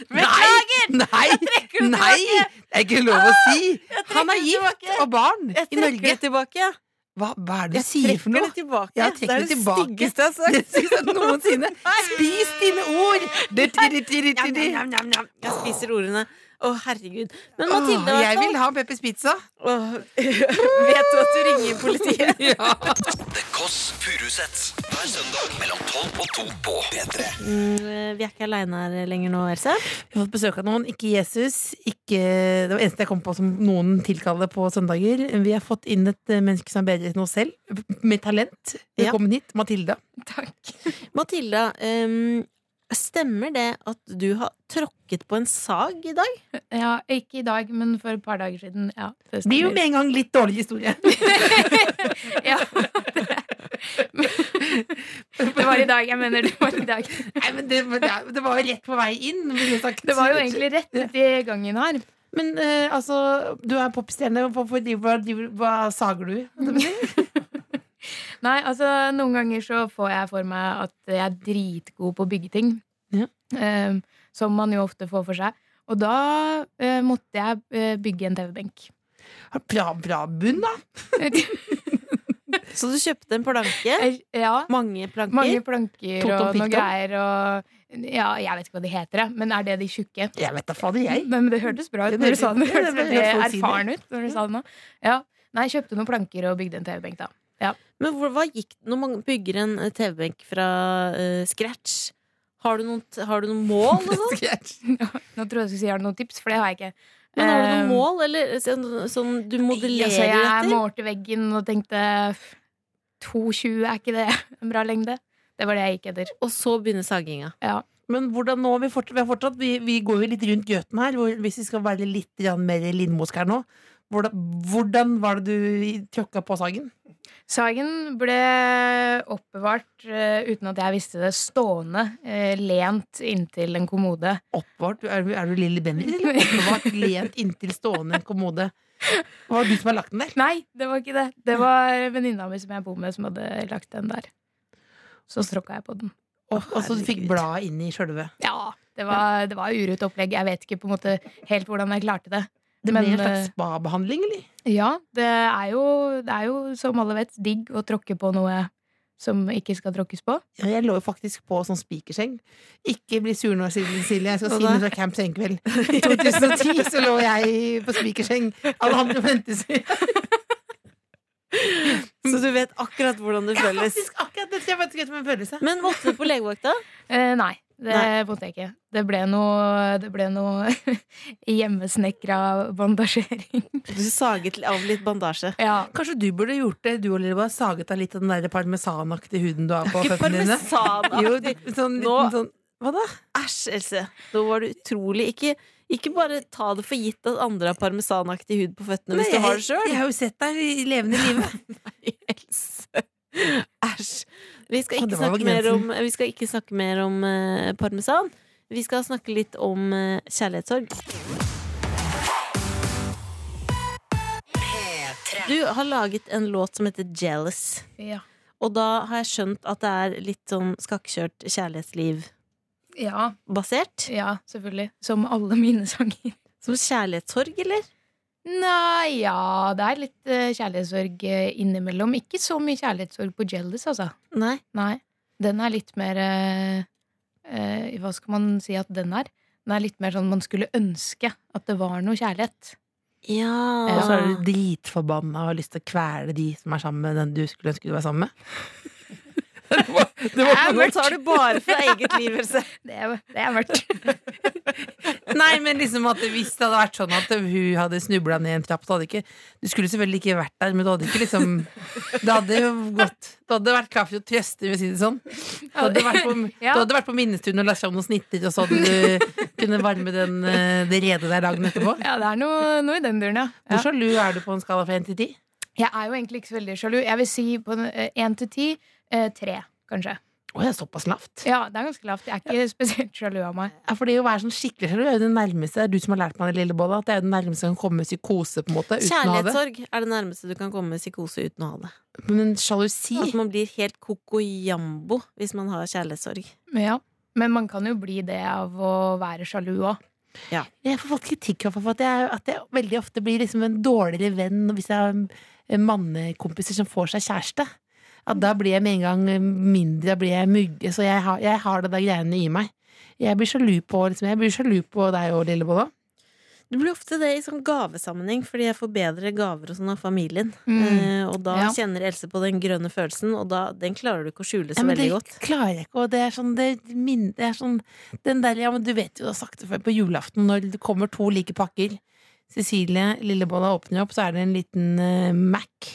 Beklager! Nei! det Nei! Det er ikke lov å si! Han er det gift tilbake. og barn Jeg i trekker det Norge. tilbake. Hva, hva er det Jeg du sier for trekker noe? det tilbake. Ja, det trekk er det det tilbake. styggeste jeg har [laughs] Det sagt. synes jeg noensinne. Spis dine ord! Det- det- det- det- det- det- Jeg spiser ordene. Å, herregud. Men Åh, Matilda, i hvert Jeg fall. vil ha Peppers pizza. Åh, [laughs] Vet du at du ringer politiet? The Kåss Furuseths. Hver søndag mellom 12 og 2 på P3. [laughs] Mm, Vi er ikke aleine her lenger nå, Else. Vi har fått besøk av noen, ikke Jesus. Ikke, det var eneste jeg kom på som noen tilkaller på søndager. Vi har fått inn et eh, menneske som er bedre enn oss selv, med talent. Ja. Velkommen hit, Matilda. Matilda, ehm, stemmer det at du har tråkket på en sag i dag? Ja, ikke i dag, men for et par dager siden. Ja, det Blir jo stemmer. med en gang litt dårlig historie. Ja, det. [laughs] det var i dag, jeg mener det var i dag. [laughs] Nei, men det, det er- det var jo rett på vei inn. ville jeg sagt. Det var jo egentlig rett uti gangen her. Men eh, altså, du er popstjerne. Hva, hva, driver- hva sager du? Nei, altså noen ganger så får jeg for meg at jeg er dritgod på å bygge ting. Ja. Eh, som man jo ofte får for seg. Og da eh, måtte jeg eh, bygge en TV-benk. Har Bra, bra bunn, da. Så du kjøpte en planke? Jeg- Eh, ja, Mange planker? mange planker Totom og Piktom? noen greier og Ja, jeg vet ikke hva de heter, jeg, men er det de tjukke? Jeg vet da fader, jeg. Nei, men det hørtes bra ut Det når du sa det. Det hørtes- hørtes det veldig hørtes folk si det. erfaren ut når du sa det nå. Ja. Nei, jeg kjøpte noen planker og bygde en TV-benk, da. Men hvor, hva gikk når man bygger en eh, TV-benk fra eh, scratch? Har du noen, t- har du noen mål? og sånn? Nå tror jeg du skulle si har du noen tips, for det har jeg ikke. Men har du noen [laughs] Eh, mål, eller sånn, sånn du modellerer altså, jeg etter? målte veggen og tenkte "F, 2,20 er ikke det [laughs] en bra lengde? Det var det jeg gikk etter. Og så begynner saginga. Men hvordan nå, vi, fort, vi, har fortsatt, vi, vi går jo litt rundt gjøten her, hvor, hvis vi skal være litt grann mer lindmosk her nå. Hvordan, hvordan var det du tråkka på sagen? Sagen ble oppbevart eh, uten at jeg visste det, stående eh, lent inntil en kommode. Oppvart? Er, du- er du Lilly Bendriss? eller? Oppvart, lent inntil stående kommode. Var det du som har lagt den der? Nei, det var ikke det. Det var venninna mi som jeg bor med, som hadde lagt den der. Så tråkka jeg på den. Og, og så du fikk bladet inn i sjølve. Ja, det var, det var urut opplegg. Jeg vet ikke på en måte helt hvordan jeg klarte det. Det Men, ble en eh, slags spabehandling, eller? Ja, det er jo, det er jo som alle vet, digg å tråkke på noe som ikke skal tråkkes på. Ja, Jeg lå jo faktisk på sånn spikerseng. Ikke bli sur nå, Silje. Silje. Jeg skal Hva si noe da? fra Camp Senkveld. [laughs] I 2010 så lå jeg på spikerseng. Alle andre på ventesida. Så du vet akkurat hvordan det føles. Faktisk akkurat dette jeg faktisk vet om en følelse. Men måtte du på legevakta? Eh, nei, det måtte jeg ikke. Det ble noe, det ble noe [laughs] hjemmesnekra bandasjering. Du saget av litt bandasje. Ja, Kanskje du burde gjort det, du Oliver, bare saget av litt av den der parmesanaktige huden du har på føttene dine. Jo, Parmesanaktig. sånn, Nå- liten, sånn, hva da? Æsj, Else. Nå var du utrolig ikke, ikke bare ta det for gitt at andre har parmesanaktig hud på føttene hvis Nei, du har det sjøl. Jeg har jo sett deg i levende live. [laughs] Else. Æsj. Vi, skal Å, ikke det var snakke grensen. mer om- vi skal ikke snakke mer om eh, parmesan. Vi skal snakke litt om eh, kjærlighetssorg. Du har laget en låt som heter 'Jealous'. ja. Og da har jeg skjønt at det er litt sånn skakkjørt kjærlighetsliv-basert. ja. Ja, selvfølgelig. Som alle mine sanger. Som kjærlighetssorg, eller? Nei, ja, det er litt eh, kjærlighetssorg eh, innimellom. Ikke så mye kjærlighetssorg på Jealous, altså. Nei. Nei. Den er litt mer eh, eh, Hva skal man si at den er? Den er litt mer sånn man skulle ønske at det var noe kjærlighet. Ja. Og så er du dritforbanna og har lyst til å kvele de som er sammen med den du skulle ønske du var sammen med. Det var, det var Nei, nå tar du bare fra eget liv, [laughs] Else. Det er, det er [laughs] mørkt. Nei, men liksom at hvis det hadde vært sånn at hun hadde snubla ned en trapp, så hadde ikke Du skulle selvfølgelig ikke vært der, men du hadde ikke liksom Det hadde jo gått Du hadde vært klar for å trøste, for å si det sånn. Du hadde vært på, Ja. du hadde vært på minnestunden og lagt fram noen snitter, og så hadde du kunne varme den, eh, det redet der dagen etterpå. Ja, det er noe, noe i den duren, ja. Hvor sjalu er du på en skala fra 1 til 10? ja. Jeg er jo egentlig ikke så veldig sjalu. Jeg vil si på en- eh, én til ti. eh, Tre, kanskje. Å, jeg er såpass lavt. Ja, det er ganske lavt. Jeg er ikke spesielt sjalu av meg. Ja, for det å være sånn skikkelig sjalu er jo det nærmeste. Det er du som har lært meg det, lille bolla. At det er jo det nærmeste jeg kan komme med psykose, på en måte. Uten å ha det. Kjærlighetssorg er det nærmeste du kan komme med psykose uten å ha det. Men sjalusi At man blir helt koko-jambo hvis man har kjærlighetssorg. Ja. Men man kan jo bli det av å være sjalu òg. Jeg får fått kritikk av for at jeg, at jeg veldig ofte blir liksom en dårligere venn hvis jeg har eh, mannekompiser som får seg kjæreste. At da blir jeg med en gang eh, mindre, da blir jeg mugge. Så jeg har, jeg har det der greiene i meg. Jeg blir sjalu på, liksom, jeg blir sjalu på deg og Lillebolla. Du blir ofte det i sånn gavesammenheng, fordi jeg får bedre gaver og sånn av familien. Mm. Eh, og da Ja. kjenner Else på den grønne følelsen, og da, den klarer du ikke å skjule så Ja, men veldig det godt. klarer jeg ikke. Og det er sånn, det, min, det er sånn den der, ja, men Du vet jo, du har sagt det før, på julaften når det kommer to like pakker. Cecilie Lillebolla åpner opp, så er det en liten eh, Mac.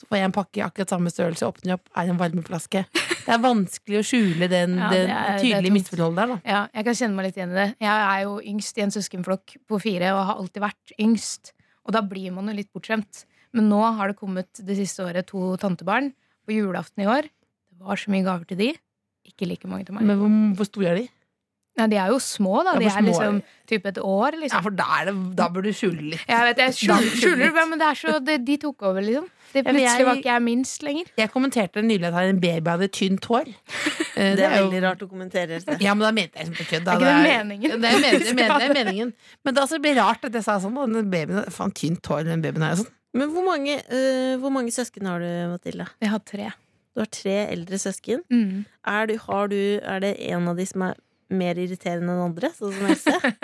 Så får jeg en pakke i akkurat samme størrelse, åpner opp, er det en varmeflaske. Det er vanskelig å skjule den, Ja, det den er- det er tydelige tungt. misforholdet der, da. Ja, jeg kan kjenne meg litt igjen i det. Jeg er jo yngst i en søskenflokk på fire og har alltid vært yngst. Og da blir man jo litt bortskjemt. Men nå har det kommet det siste året to tantebarn på julaften i år. Det var så mye gaver til de. Ikke like mange til meg. Men hvor, hvor store er de? Nei, de er jo små, da. Ja, De hvor er små liksom er type et år, Ja, liksom. for da, er det, da bør du skjule litt. Jeg vet, jeg skjuler, Da- skjuler det, men det er så de, de tok over, liksom. Det Ja, men jeg- plutselig var ikke jeg minst lenger. Jeg kommenterte nylig at jeg har en baby hadde tynt hår. Eh, Det er jo- veldig rart å kommentere. Else. Ja, men da mente jeg liksom på kødd. da. Er ikke det meningen? Ja, Det er, [laughs] men- det er, men- det er meningen. Men det er altså rart at jeg sa sånn. da, Den babyen, faen, tynt hår den babyen her. og Sånn. Men hvor mange, eh, hvor mange søsken har du, Mathilde? Jeg har tre. Du har tre eldre søsken. Mm. Er, du, har du, er det en av de som er mer irriterende enn andre, sånn som Else?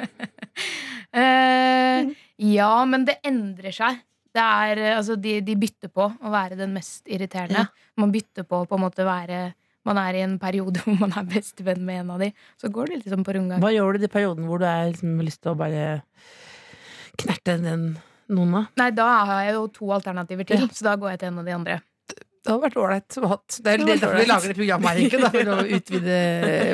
Eh, ja, men det endrer seg. Det er, eh, altså, de, de bytter på å være den mest irriterende. Man bytter på å på en måte være Man er i en periode [laughs] hvor man er bestevenn med en av de. Så går det litt sånn på rundgang. Hva gjør du i de perioden hvor du er, liksom, har lyst til å bare knerte den noen av? Nei, da har jeg jo to alternativer til, Ja. så da går jeg til en av de andre. Det hadde vært ålreit å ha. Det er det er derfor vi lager det programmet her, egentlig. Da, for å [laughs] utvide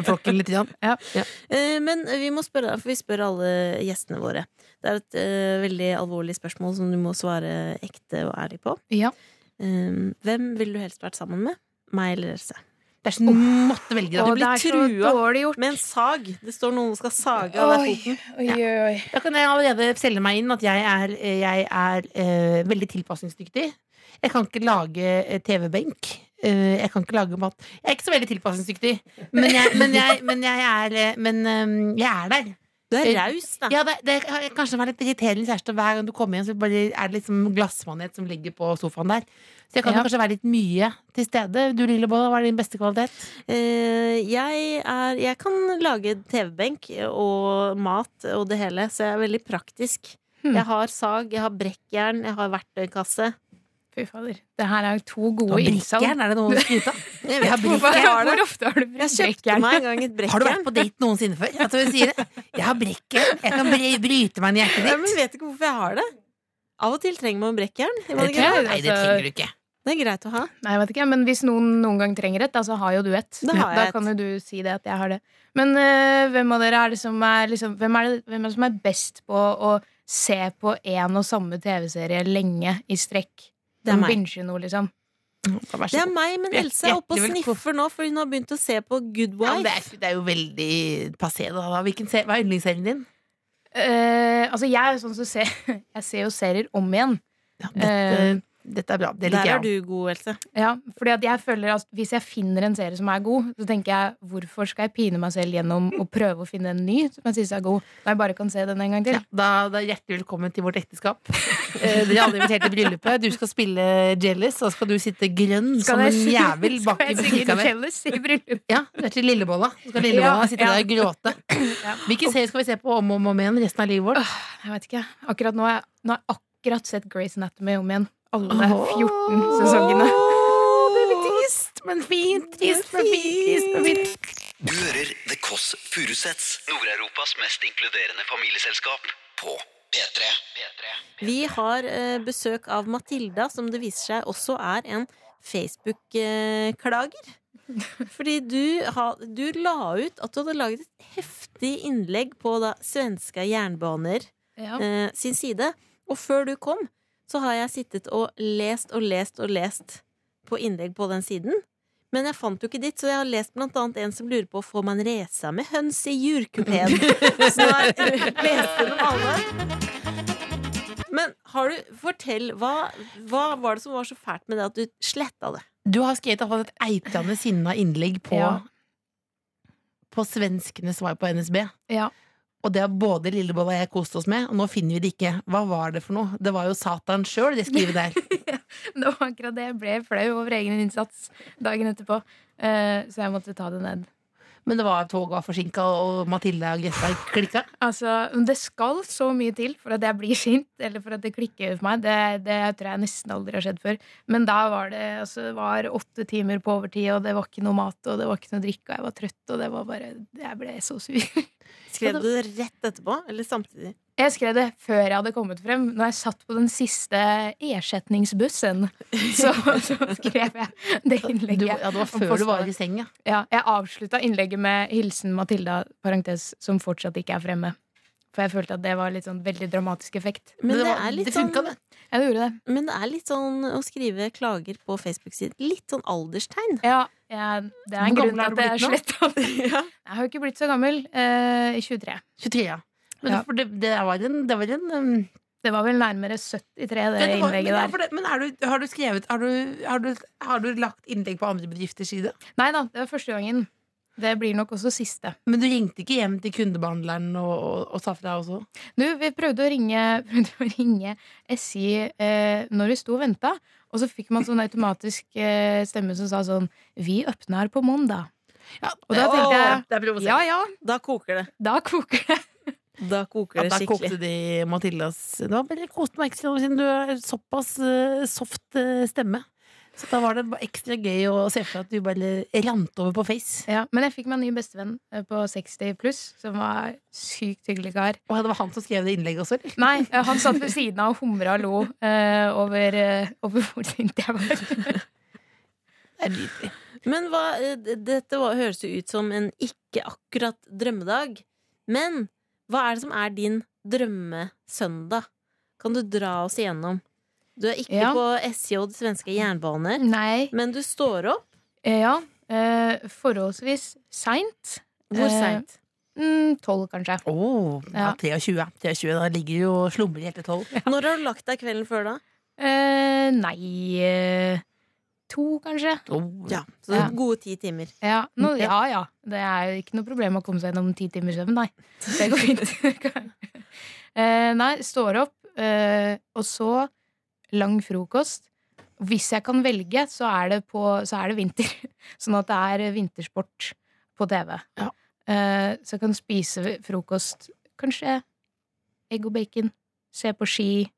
flokken litt. Grann. Eh, Men vi må spørre, for vi spør alle gjestene våre. Det er et eh, veldig alvorlig spørsmål som du må svare ekte og ærlig på. Ja. Eh, hvem ville du helst vært sammen med? Meg eller Else? Det er sånn du måtte velge. Da. Og Du det blir er så trua. dårlig gjort. Med en sag! Det står noen og skal sage av deg foten. oi, oi, oi. Da kan jeg allerede selge meg inn at jeg er, jeg er eh, veldig tilpasningsdyktig. Jeg kan ikke lage eh, TV-benk. Eh, jeg kan ikke lage mat. Jeg er ikke så veldig tilpasningsdyktig, men jeg, men jeg, men jeg, er, eh, men, eh, jeg er der. Du er Eh, raus, da. Ja, det, det kan kanskje være litt irriterende kjæreste hver gang du kommer hjem. Så bare er det liksom glassmanet som ligger på sofaen der. Så jeg kan Ja. jo kanskje være litt mye til stede. Du, Lillebolla, hva er din beste kvalitet? Eh, jeg, er, jeg kan lage TV-benk og mat og det hele, så jeg er veldig praktisk. Hmm. Jeg har sag, jeg har brekkjern, jeg har verktøykasse. Fy fader. Det her er jo to Du har gode innsalg. brikkjern, er det noe å skryte av? Jeg [laughs] har Hvor, brikkjern. hvor ofte har du Jeg brukt kjøpte brekkjern? meg en gang et brekkjern. Har du vært på date noensinne før? At du sier det? Jeg har brekkjern. Jeg kan bry- bryte meg inn i hjertet Ja, men ditt. vet ikke hvorfor jeg har det. Av og til trenger man brekkjern. gjør man Det ikke trenger, det? nei, det altså- trenger du ikke. Det er greit å ha. Nei, jeg vet ikke, men Hvis noen noen gang trenger et, da, så har jo du et. Da har jeg da et. kan jo du si det at jeg har det. Men øh, hvem av dere er det som er, liksom, hvem er, det, hvem er, det som er best på å se på én og samme TV-serie lenge i strekk? Det er Som meg. binger noe, liksom. Ja, vær Det så er god. meg, men Hjert- Else er oppe og hjertelig velkommen. sniffer nå, for hun har begynt å se på Good Ja, men det, Wife. er, det er jo veldig passé. Da. da. Hvilken se- Hva er yndlingsserien din? Eh, altså, jeg er jo sånn som ser [laughs] Jeg ser jo serier om igjen. Ja, dette, dette er bra. Det Der er liker jeg. du god, Else. Ja, fordi at jeg føler at Hvis jeg finner en serie som er god, så tenker jeg hvorfor skal jeg pine meg selv gjennom å prøve å finne en ny som jeg syns er god, når jeg bare kan se den en gang også. til? Ja, da, da er Hjertelig velkommen til vårt ekteskap. Eh, Dere er alle invitert til bryllupet. Du skal spille Jealous, og så skal du sitte grønn Skal som en jeg si- jævel [laughs] bak skal i jeg synge butikken. min. Jealous i [laughs] bryllup? Ja, det er til Lillebolla. Så skal Lillebolla Ja, sitte ja. der og gråte. Ja. Hvilken serie skal vi se på om og om, og om igjen resten av livet vårt? Jeg vet ikke. Akkurat nå har jeg, nå har jeg akkurat sett Grey's Anatomy om igjen. Alle Åh. 14 sesongene. Det er litt trist, men fint. Trist, men fint. Trist, men fint. Du hører The Kåss Furuseths, Nord-Europas mest inkluderende familieselskap, på P3. Vi har eh, besøk av Matilda, som det viser seg også er en Facebook-klager. [laughs] Fordi du, ha, du la ut at du hadde laget et heftig innlegg på da svenske jernbaner Ja. eh, sin side. Og før du kom, så har jeg sittet og lest og lest og lest på innlegg på den siden. Men jeg fant jo ikke ditt, så jeg har lest blant annet en som lurer på Får man resa med høns i [laughs] jurkupeen. så nå har jeg lest gjennom alle. Men har du, fortell, hva, hva var det som var så fælt med det at du sletta det? Du har skrevet i hvert fall et eitende sinna innlegg på, Ja. på svenskenes svar på NSB. Ja. Og det har både Lillebolla og jeg kost oss med, og nå finner vi det ikke. Hva var det for noe? Det var jo Satan sjøl, det skrivet [laughs] der. Det var akkurat det. Jeg ble flau over egen innsats dagen etterpå. Eh, Så jeg måtte ta det ned. Men det var toget var forsinka, og Matilda og Greta klikka. Altså, men det skal så mye til for at jeg blir sint, eller for at det klikker for meg. Det, det tror jeg nesten aldri har skjedd før. Men da var det altså, det var åtte timer på overtid, og det var ikke noe mat, og det var ikke noe drikke, og jeg var trøtt, og det var bare Jeg ble så sur. [laughs] Skrev du det rett etterpå, eller samtidig? Jeg skrev det før jeg hadde kommet frem. Når jeg satt på den siste erstatningsbussen, så, så skrev jeg det Du, innlegget. ja, det var om før du var postdagen. i senga. Ja, jeg avslutta innlegget med hilsen Matilda, parentes, som fortsatt ikke er fremme. For jeg følte at det var litt sånn veldig dramatisk effekt. Men det, var- er litt det funka, sånn, det. Ja, det gjorde det. men det er litt sånn å skrive klager på Facebook-siden. Litt sånn alderstegn. Ja, jeg, det er en Hvor grunn gammel til er at du jeg er blitt sletta. Jeg har jo ikke blitt så gammel. Eh, 23. 23, ja. Men Ja. det- for det, det var en, det var en um, Det var vel nærmere 73, det Men det var- men innlegget ja, der. for det- Men er du, har du skrevet har du, har, du, har du lagt innlegg på andre bedrifters side? Nei da, det var første gangen. Det blir nok også siste. Men du ringte ikke hjem til kundebehandleren og, og, og sa fra også? Du, vi prøvde å ringe, [laughs] prøvde å ringe SI eh, når vi sto og venta, og så fikk man sånn automatisk eh, stemme som sa sånn Vi åpner på mandag. Ja, Og da tenkte jeg det er Ja ja, Da koker det. da koker det. Da koker Ja, det da skikkelig. kokte de Matildas Det var bare koste meg ekstra siden du har såpass eh, soft eh, stemme. Så da var det bare ekstra gøy å se for seg at du bare rant over på face. Ja, men jeg fikk meg en ny bestevenn eh, på 60 pluss, som var sykt hyggelig kar. Og det var han som skrev det innlegget også, eller? Nei, eh, han satt ved siden av og humra og lo eh, over, eh, over hvor sint jeg [laughs] var. Det er nydelig. Men hva, eh, d- dette var, høres jo ut som en ikke akkurat drømmedag. Men hva er det som er din drømmesøndag? Kan du dra oss igjennom? Du er ikke Ja. på SJ, svenske jernbaner, Nei. men du står opp. Eh, ja. Eh, forholdsvis seint. Hvor Eh, seint? Mm, Tolv, kanskje. Å, ja, 23. 23. Da ligger du og slumrer helt til tolv. Når har du lagt deg kvelden før, da? Eh, nei eh, To, kanskje. Oh, Så Ja. Gode ti timer. Ja, nå, ja ja. Det er jo ikke noe problem å komme seg gjennom ti timers søvn, nei. [laughs] Det går fint. Eh, nei, står opp, eh, og så lang frokost. Hvis jeg kan velge, så er det, på, så er det vinter. [laughs] Sånn at det er vintersport på TV. Ja. Eh, så jeg kan spise frokost kanskje egg og bacon, se på ski,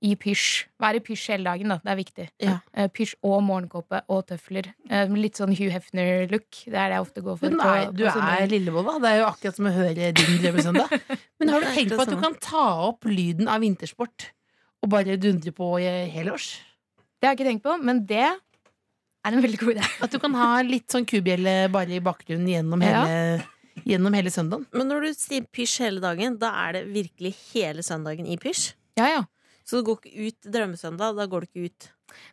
i pysj. Være i pysj hele dagen, da. Det er viktig. Ja. Eh, Pysj og morgenkåpe og tøfler. Eh, Litt sånn Hugh Hefner-look. Det er det jeg ofte går for. Men på- er, du på søndager. er lillebolla. Det er jo akkurat som å høre din drømmesøndag. [laughs] Men har Det du er tenkt på akkurat at du samme. kan ta opp lyden av vintersport og bare dundre på i helårs? Det har jeg ikke tenkt på, men det er en veldig god [laughs] idé. At du kan ha litt sånn kubjelle bare i bakgrunnen gjennom hele, gjennom hele søndagen? Men når du sier pysj hele dagen, da er det virkelig hele søndagen i pysj. Ja, ja. Så du går ikke ut drømmesøndag. Da går du ikke ut.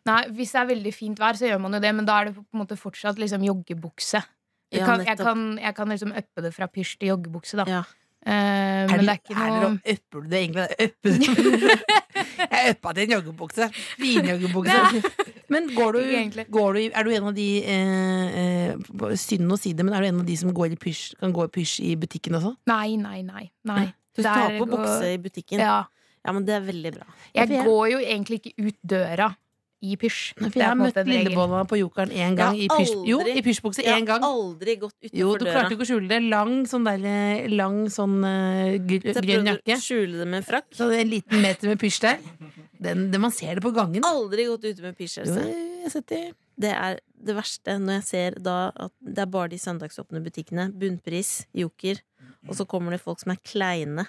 Nei, hvis det er veldig fint vær, så gjør man jo det, men da er det på en måte fortsatt liksom joggebukse. Jeg Ja, kan, jeg nettopp. kan, jeg kan liksom uppe det fra pysj til joggebukse, da. Ja. Eh, men det er ikke noe Øpper du det egentlig? Øpper [laughs] du- Jeg øppa til en joggebukse. Finjoggebukse. Men går Ikke du, egentlig. går du i- Er du en av de eh, eh, Synd å si det, men er du en av de som går i pysj, kan gå i pysj i butikken også? Nei, nei, nei. nei. Du tar Der på går- bukse i butikken. Ja. Ja. men det er veldig bra. Jeg For jeg- går jo egentlig ikke ut døra i pysj. For Det jeg er har på en møtt måte en regel. Lillebolla på Jokeren én gang. Jeg I har pysj, jo, aldri- i pysjbukse Jeg én har gang. aldri gått Jo, utenfor du døra. klarte jo ikke å skjule det. Lang sånn, der, lang, sånn eh, gr- Så jeg grønn prøvde jakke. å skjule det med en frakk. Så det er en liten meter med pysj der. Den, den, man ser det på gangen. Aldri gått ute med pysj. Jo, altså. jeg setter Det er det verste når jeg ser da at det er bare de søndagsåpne butikkene. Bunnpris, Joker. Og så kommer det folk som er kleine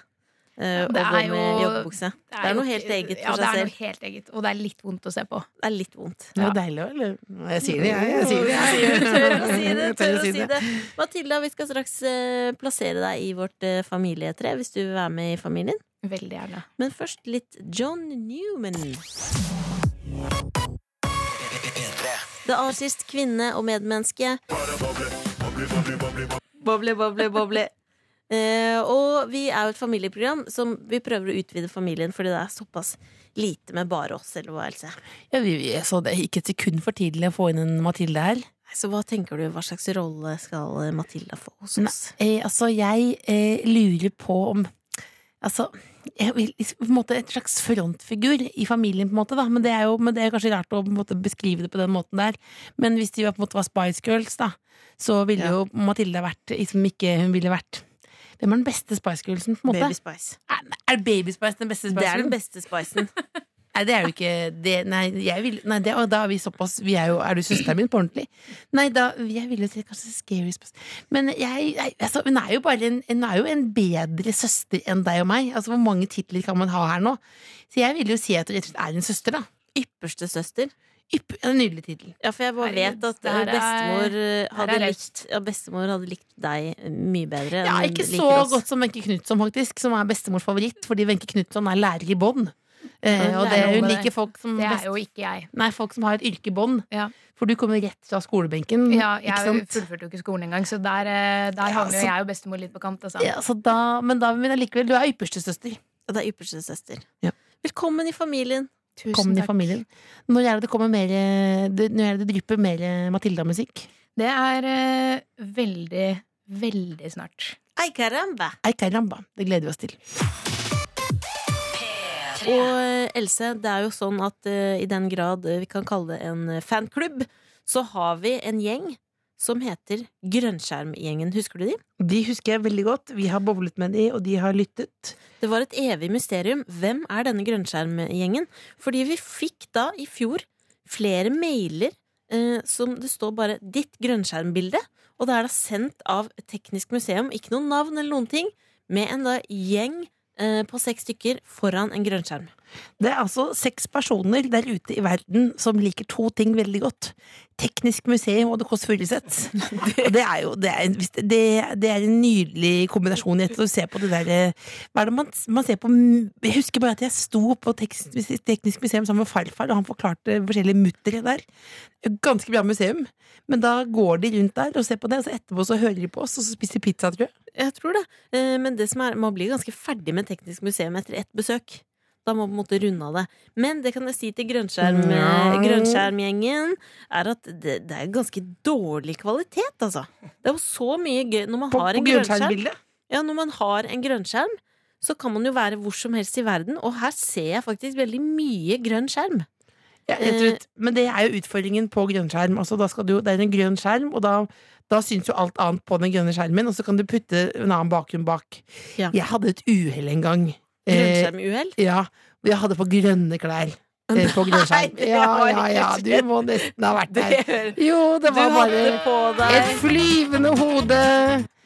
eh, og det er går med jo- joggebukse. Det er jo noe helt ikke- eget ja, for det seg er selv. noe helt eget, og det er litt vondt å se på. Det er litt vondt. Det er jo deilig òg, eller? Jeg sier det, jeg. jeg sier det, jeg. Tør å si det, [laughs] Jeg tør å si det. Matilda, vi skal straks eh, plassere deg i vårt eh, familietre hvis du vil være med i familien. Veldig gjerne. Men først litt John Newman. Det aller sist kvinne og medmenneske. Boble, boble, boble. Eh, og vi er jo et familieprogram som vi prøver å utvide familien fordi det er såpass lite med bare oss. Eller hva, Else? Ja, vi, jeg så det gikk et sekund for tidlig å få inn en Mathilde her. Nei, Så hva tenker du, hva slags rolle skal Matilda få hos oss? Eh, altså, jeg eh, lurer på om Altså, jeg vil liksom, på en måte et slags frontfigur i familien, på en måte, da. Men det er jo men det er kanskje rart å på en måte, beskrive det på den måten der. Men hvis de var, på en måte, var Spice Girls, da, så ville jo Mathilde vært liksom ikke hun ville vært Hvem er den beste Spice Girlsen, på en måte? Baby Spice. Er, er Baby Spice den beste Spice Det er den Girlen? beste [laughs] spicen. Nei, det er jo ikke det, Nei, jeg vil, nei det, og da er vi såpass vi er, jo, er du søsteren min på ordentlig? Nei, da Jeg ville si kanskje Scary Spice. Men jeg, jeg, altså, hun er jo bare en, hun er jo en bedre søster enn deg og meg. Altså, Hvor mange titler kan man ha her nå? Så jeg vil jo si at hun rett og slett er en søster, da. Ypperste søster. Ypp, en nydelig tittel. Ja, for jeg bare Herregud, vet at det her er- bestemor eh, her er hadde likt raust. ja, Bestemor hadde likt deg eh, mye bedre enn Ja, hun ikke så liker oss. godt som Wenche Knutson, faktisk, som er bestemors favoritt, fordi Wenche Knutson er lærer i bånd. Eh, og det, lærer hun om det. liker folk som, Det Mm, best, er jo ikke jeg. nei, folk som har et yrke i bånd. Ja. For du kommer rett fra skolebenken. Ja, Mm, ikke jeg sant? fullførte jo ikke skolen engang, så der, eh, der Ja, havner jo så- jeg og bestemor litt på kant. Altså. Ja, så da, men da vil jeg likevel Du er ypperste søster. Ja, det er ypperste søster. Ja. Velkommen i familien. Tusen Kom i takk. familien. Når er det det kommer mer eh, det, Når er det det drypper mer eh, Matilda-musikk? Det er eh, veldig, veldig snart. Ei caramba! Ei caramba. Det gleder vi oss til. Og eh, Else, det er jo sånn at eh, i den grad eh, vi kan kalle det en eh, fanklubb, så har vi en gjeng som heter Grønnskjermgjengen. Husker du de? De husker jeg veldig godt. Vi har boblet med de, og de har lyttet. Det var et evig mysterium. Hvem er denne grønnskjermgjengen? Fordi vi fikk da i fjor flere mailer eh, som det står bare 'ditt grønnskjermbilde', og det er da sendt av Teknisk museum, ikke noe navn eller noen ting, med en da gjeng eh, på seks stykker foran en grønnskjerm. Det er altså seks personer der ute i verden som liker to ting veldig godt. Teknisk museum og The Kåss [laughs] Furuseth. Og Det er jo det er, en- hvis det, det det er en nydelig kombinasjon. Jeg tror du ser på det der, eh, Hva er det man, man ser på m- Jeg husker bare at jeg sto på Teknisk, muse- teknisk museum sammen med farfar, og han forklarte forskjellige muttere der. Ganske bra museum. Men da går de rundt der og ser på det, og så etterpå så hører de på oss, og så spiser de pizza, tror jeg. Jeg tror det. Eh, men det som er, man blir ganske ferdig med Teknisk museum etter ett besøk. Da må man på en måte runde av det. Men det kan jeg si til grønnskjerm, Ja. grønnskjermgjengen, er at det, det er ganske dårlig kvalitet, altså. Det er jo så mye gøy når man På, har på en grønnskjerm. grønnskjermbildet. Ja, når man har en grønnskjerm, så kan man jo være hvor som helst i verden, og her ser jeg faktisk veldig mye grønn skjerm. Ja, rett og Eh, slett. Men det er jo utfordringen på grønnskjerm. Altså, da skal du, det er en grønn skjerm, og da, da syns jo alt annet på den grønne skjermen, og så kan du putte en annen bakgrunn bak. Ja. Jeg hadde et uhell en gang. Eh, Grønnskjermuhell. ja, hvor jeg hadde på grønne klær. eh, På grønnskjerm. det Ja, var ja, ja, ikke du må nesten ha vært der. Du Jo, det var hadde bare på et deg flyvende hode.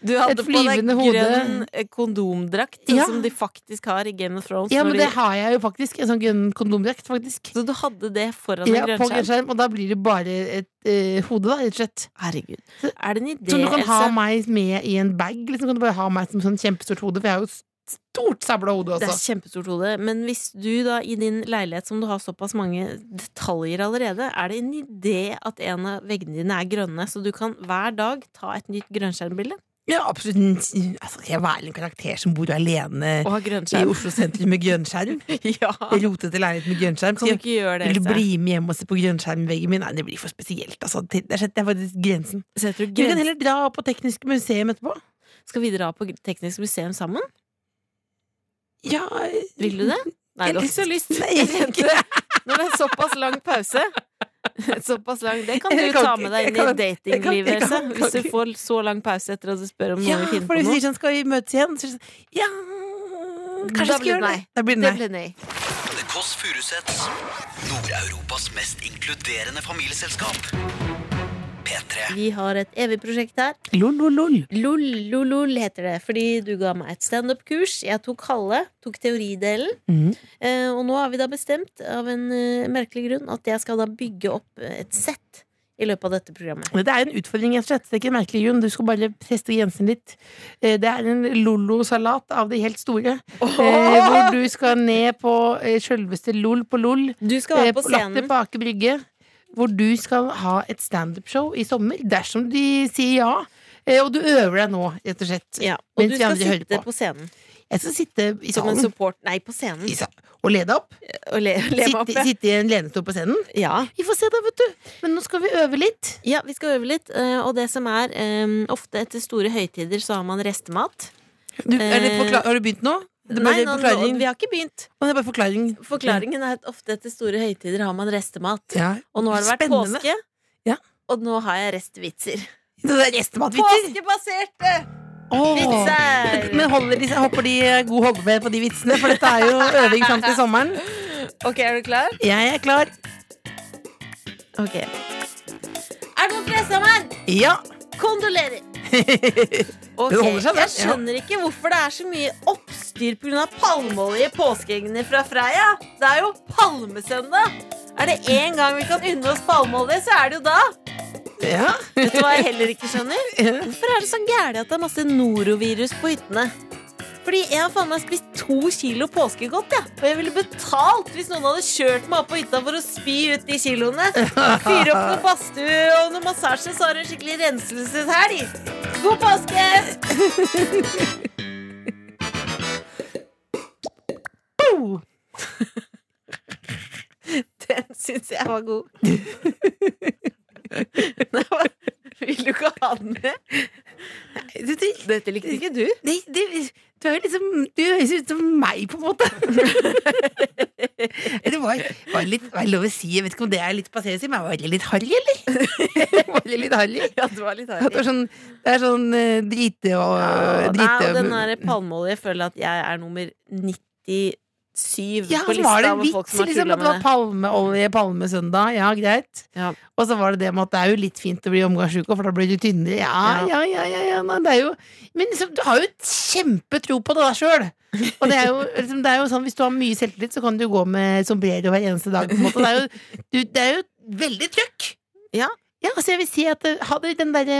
Du hadde Et på deg flyvende hode. grønn eh, kondomdrakt, sånn Ja. som de faktisk har i Game of Thrones. Ja, når men de- det har jeg jo faktisk. En sånn grønn kondomdrakt, faktisk. Så du hadde det foran Ja, en på grønnskjerm? grønnskjerm, og da blir det bare et eh, hode, da, rett og slett. Herregud. Er det en idé, Så du kan ha Else? meg med i en bag? Liksom kan du bare ha meg som sånn kjempestort hode? For jeg har jo et stort sabla hode Det er også. kjempestort hode. Men hvis du da i din leilighet som du har såpass mange detaljer allerede, er det en idé at en av veggene dine er grønne, så du kan hver dag ta et nytt grønnskjermbilde? Ja, absolutt. Altså, skal jeg være en karakter som bor alene Og ha i grønnskjerm. Oslo sentrum med grønnskjerm? [laughs] ja. Rotete leilighet med grønnskjerm? Kan du ikke gjøre det, Vil du Else? bli med hjem og se på grønnskjermveggen min? Nei, det blir for spesielt. Altså. Det det er faktisk grensen. Setter du Vi kan grønn- heller dra på Teknisk museum etterpå. Skal vi dra på Teknisk museum sammen? Ja Vil du det? Nei, Jeg du har ikke så lyst. Nei, jeg [laughs] vil ikke det. Når det er såpass lang pause [laughs] Såpass lang Det kan du Jeg kan ta ikke- med deg jeg inn i kan- jeg kan- jeg datinglivet, kan- Else. jeg kan Hvis du ikke. får så lang pause etter at du spør om Ja, noe vi finner for på du nå. sier sånn, skal vi møtes igjen? Så, er det sånn, ja Da Kanskje vi skal blir det gjøre det? nei. Da blir det Det nei. ble nei. The Kåss Furuseths. Nord-Europas mest inkluderende familieselskap. P3. Vi har et evig prosjekt her. Lol, lol, lol. LOL, LOL, LOL heter det. Fordi du ga meg et standup-kurs. Jeg tok halve. Tok teoridelen. Mhm. Eh, og nå har vi da bestemt av en eh, merkelig grunn at jeg skal da bygge opp eh, et sett i i løpet av dette programmet. Det er en utfordring, rett og slett. Det er ikke merkelig, Jun. Du skal bare teste grensen litt. Eh, Det er en Lollo-salat av de helt store. Eh, hvor du skal ned på eh, sjølveste LOL på LOL. Du skal eh, være på Latter scenen. på Aker Brygge. Hvor du skal ha et standup-show i sommer, dersom de sier ja. Eh, Og du øver deg nå, rett og slett. Ja, og du mens de skal andre hører sitte på. på scenen Jeg skal sitte i som en salen support Nei, på scenen. i sa- og lede opp. Og le, le meg opp, Sitte, ja. sitte i en lenestol på scenen. ja. Vi får se, da, vet du. Men nå skal vi øve litt. Ja, vi skal øve litt. eh, Og det som er, eh, ofte etter store høytider så har man restemat. Du, er det Eh, forkla- har du begynt nå? Det er Nei, bare nå, nå, forklaring. vi har ikke begynt. Å, det er bare forklaring. Forklaringen er at ofte etter store høytider har man restemat. Mm. Ja. Og nå har det vært Spennende. påske, Ja. og nå har jeg restvitser. Det er restematvitser! Påskebaserte Åh. vitser! Men holder de, jeg håper de er god hoggmed på de vitsene, for dette er jo øving fram til sommeren. Ok, er du klar? Jeg er klar. Ok. Er det noen fra sommeren? Ja. Kondolerer! [laughs] Ok, Den holder seg, den. Jeg skjønner ikke hvorfor det er så mye oppstyr pga. palmeolje i påskeeggene fra Freia. Det er jo palmesøndag. Er det én gang vi kan unne oss palmeolje, så er det jo da. ja. Vet du hva jeg heller ikke skjønner? Hvorfor er det så gærent at det er masse norovirus på hyttene? Fordi jeg har faen meg spist to kilo påskegodt, ja. og jeg ville betalt hvis noen hadde kjørt meg opp på hytta for å spy ut de kiloene. Fyre opp noe badstue og noe massasje, så har du en skikkelig renselseshelg. God påske! Den syns jeg var god. [laughs] Nei, hva? Vil du ikke ha den med? Dette likte ikke du. Nei, det, du er jo liksom Du høres ut som meg, på en [laughs] måte. det var, var litt var lov å si. Jeg vet ikke om det er litt passé å si, men var det litt harry, [laughs] eller? var det litt harry? Ja, det var litt At det, var sånn, det er sånn eh, drite og Nei, drite og den der palmeolje føler jeg at jeg er nummer 97 Ja, på så var lista det en over folk vits, som har tulla liksom, at det var med det. palmeolje palmesøndag. Ja, greit. Ja. Og så var det det med at det er jo litt fint å bli omgangsuke, for da blir du tynnere. Ja, ja, ja, ja, ja nei, det er jo Men liksom, du har jo kjempetro på det der sjøl. Og det er, [laughs] jo, liksom, det er jo sånn, hvis du har mye selvtillit, så kan du gå med sombrero hver eneste dag. På en måte. Det, er jo, du, det er jo veldig trøkk. Ja. ja. Så jeg vil si at eh, hadde den derre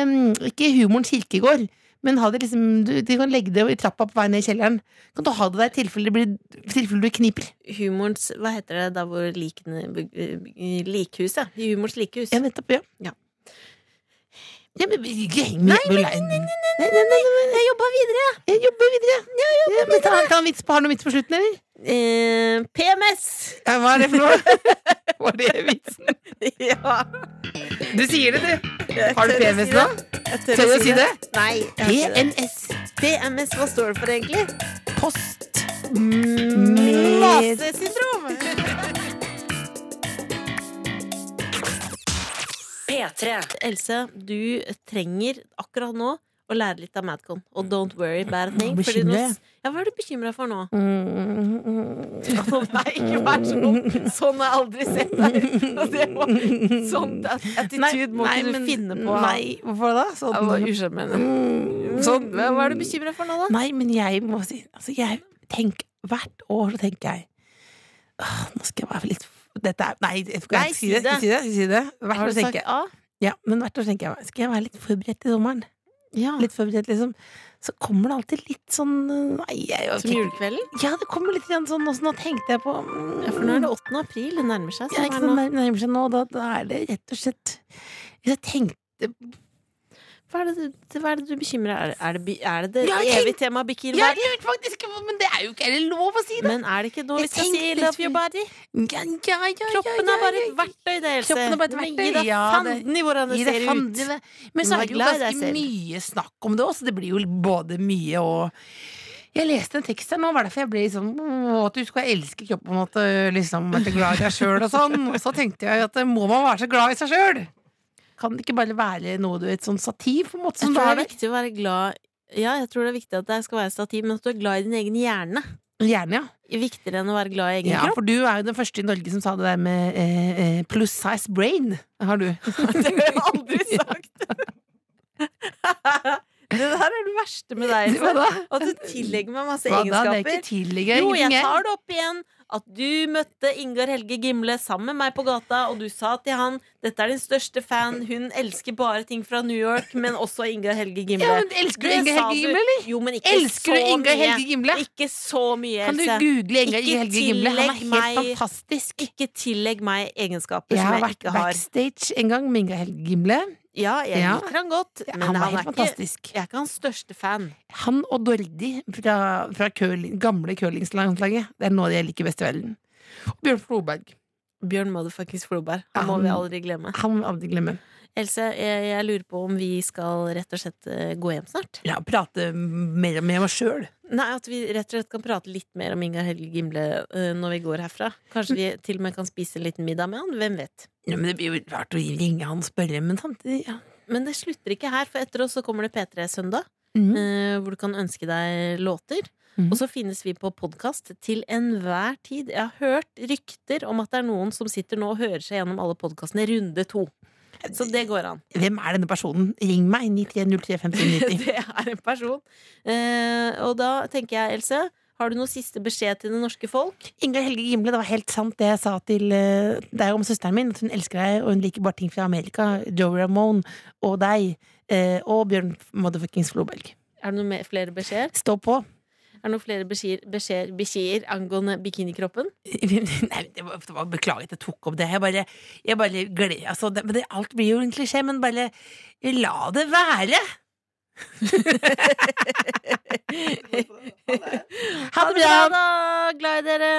Ikke humorens kirkegård. Men ha det liksom, du, du kan legge det i trappa på vei ned i kjelleren. Kan du ha det der i tilfelle det blir- i tilfelle du kniper. Humorens Hva heter det da hvor likene eh, Likhus, ja. I humorens likhus. Ja, nettopp, ja. Ja. Nei, men ikke heng med nei, nei, nei, nei, Jeg jobber videre. Jeg jobber videre. Ja, men ta, ta en vits på, har du noen vits på slutten, eller? Eh, [laughs] PMS! Ja, hva er det [laughs] for noe? Var det vitsen? ja. Du sier det, du. Har du PMS nå? Jeg Tør du å si det? Nei. jeg har ikke det. PMS. PMS, hva står det for egentlig? Post. Masesyndrom! P3. Else, du trenger akkurat nå å lære litt av Madcon. Og don't worry, bad thing. Nå fordi nå- bekymrer jeg. ja, hva er du bekymra for nå? Mm. Å nei, ikke vær sånn! Sånn har jeg aldri sett deg! Og det må, sånn attitude må ikke du finne på. Nei, hvorfor da? Ja, Sånn. det var usjarmerende. Sånn, hva hva er du bekymra for nå, da? Nei, men jeg må si altså jeg tenk, Hvert år så tenker jeg «Åh, Nå skal jeg være litt dette er, Nei, jeg skal Nei, ikke si det. si det. Ikke si det, ikke si det. Hvert Har år du sagt tenker jeg A? ja, Men hvert år tenker jeg Skal jeg være litt forberedt til sommeren? Ja. Litt forberedt liksom Så kommer det alltid litt sånn Nei, jeg ok. Som julekvelden? Ja, det kommer litt igjen sånn Også nå tenkte jeg på mm, Ja, for nå er det 8. april. Det nærmer seg. ja, ikke sommeren nå. sant, nær- nærmer seg nå da, da er det rett og slett Hvis jeg tenkte Hva er det du, hva er det du bekymrer deg Er det, bi- er det, Ja, det jeg evige temaet bikini? Ja, jeg vet faktisk Men det er jo ikke er det lov å si det Men er det ikke nå vi Jeg skal si tenkte litt- 'love your body'? ja, ja, ja, ja, Kroppen ja, er bare ja, et verktøy, det, Else. Kroppen er bare et Men verktøy, Gi deg ja, det- fanden i hvordan det Gi deg ser fanden ut. i det. Men så Vær er det jo glad i deg ganske selv. mye snakk om det også. Det blir jo både mye og Jeg leste en tekst her nå, var derfor jeg ble sånn «Åh, At du skal elske kroppen og at du liksom være glad i deg sjøl og sånn. Og så tenkte jeg at må man være så glad i seg sjøl? Kan det ikke bare være noe du et sånn stativ på en måte Jeg som tror du det har er der? viktig å være glad Ja, jeg tror det er viktig at det skal være stativ, men at du er glad i din egen hjerne. Gjerne, ja. Viktigere enn å være glad i egen ja. kropp. For du er jo den første i Norge som sa det der med eh, eh, plus size brain. Har du. [laughs] Det har jeg aldri [laughs] sagt! det der er det [laughs] verste med deg, Hva Else. da? At du tillegger meg masse Hva da? Det er egenskaper. ikke tidligere. Jo, jeg ingenting, jeg. tar det opp igjen at du møtte Ingar Helge Gimle sammen med meg på gata, og du sa til han 'Dette er din største fan. Hun elsker bare ting fra New York, men også Ingar Helge Gimle'. Ja, men elsker du Det Inga sa Helge du. Gimle, eller? Jo, men ikke så Elsker du Inga mye. Helge Gimle? Ikke så mye, Kan du Else. google Inga Ikke Helge Gimle? Han er tillegg helt meg- fantastisk. Ikke tillegg meg egenskaper Jeg som har jeg vært ikke har. backstage en gang med Inga Helge Gimle. Ja, jeg Ja. liker han godt, men han, Han var helt er ikke, fantastisk. jeg er ikke hans største fan. Han og Dordi fra, fra curling, gamle curlinglandslaget. Det er noe av det jeg liker best i verden. Og Bjørn Floberg. Bjørn motherfuckings Floberg. Han Ja, må han- vi aldri glemme. Han vil jeg aldri glemme. Else, jeg, jeg lurer på om vi skal rett og slett eh, gå hjem snart? Ja, prate mer og mer med meg sjøl. Nei, at vi rett og slett kan prate litt mer om Ingar Helge Gimle eh, når vi går herfra. Kanskje vi til og med kan spise en liten middag med han? Hvem vet? Ja, men det blir jo rart å ringe han og spørre, men samtidig ja. Men det slutter ikke her, for etter oss så kommer det P3 Søndag. mm. eh, hvor du kan ønske deg låter. Mhm. Og så finnes vi på podkast til enhver tid. Jeg har hørt rykter om at det er noen som sitter nå og hører seg gjennom alle podkastene runde to. Så det går an. Hvem er denne personen? Ring meg! [laughs] 93035990. Det er en person. Eh, og da tenker jeg, Else, har du noen siste beskjed til det norske folk? Ingar Helge Gimle, det var helt sant det jeg sa til eh, deg om søsteren min. At hun elsker deg, og hun liker bare ting fra Amerika. Joe Ramone og deg. eh, Og Bjørn motherfuckings Floberg. Er det noen mer- flere beskjeder? Stå på! Er det noen flere beskjeder, beskjeder, beskjeder angående bikinikroppen? [laughs] Nei, det var, det var Beklager at jeg tok opp det. Jeg bare, jeg bare gled, altså, det, men det, Alt blir jo en klisjé, men bare la det [laughs] være! ha det bra! da! Glad i dere!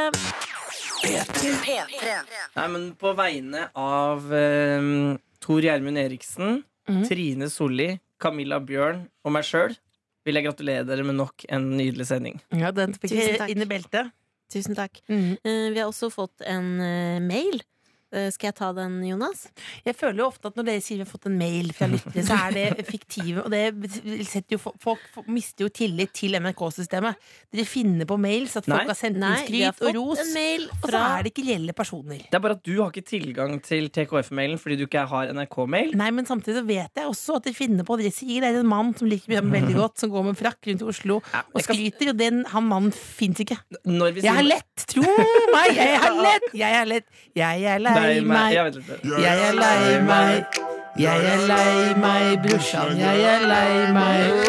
Nei, men på vegne av eh, Tor Gjermund Eriksen, Mhm. Trine Solli, Camilla Bjørn og meg sjøl vil jeg gratulere dere med nok en nydelig sending. Ja, den fikk Tusen jeg takk. inn i beltet. Tusen takk. Mm. Eh, Vi har også fått en eh, mail. Eh, Skal jeg ta den, Jonas? Jeg føler jo ofte at når dere sier vi har fått en mail fra lyttere, så er det fiktive. Og det setter jo folk, folk mister jo tillit til NRK-systemet. Dere finner på mails at folk Nei. har sendt inn Nei, vi har fått skryt og ros, en mail og så fra er det ikke reelle personer. Det er bare at du har ikke tilgang til TKF-mailen fordi du ikke har NRK-mail. Nei, men samtidig så vet jeg også at dere finner på dere sier det er en mann som liker meg veldig godt, som går med frakk rundt i Oslo og jeg kan- skryter, og den, han mannen fins ikke. Når vi Jeg har sier- lett! Tro meg! Jeg har lett! Jeg er lett. Jeg er lei Nei, men- meg. Jeg vet ikke. Jeg er lei meg, jeg er lei meg, brorsan, jeg er lei meg.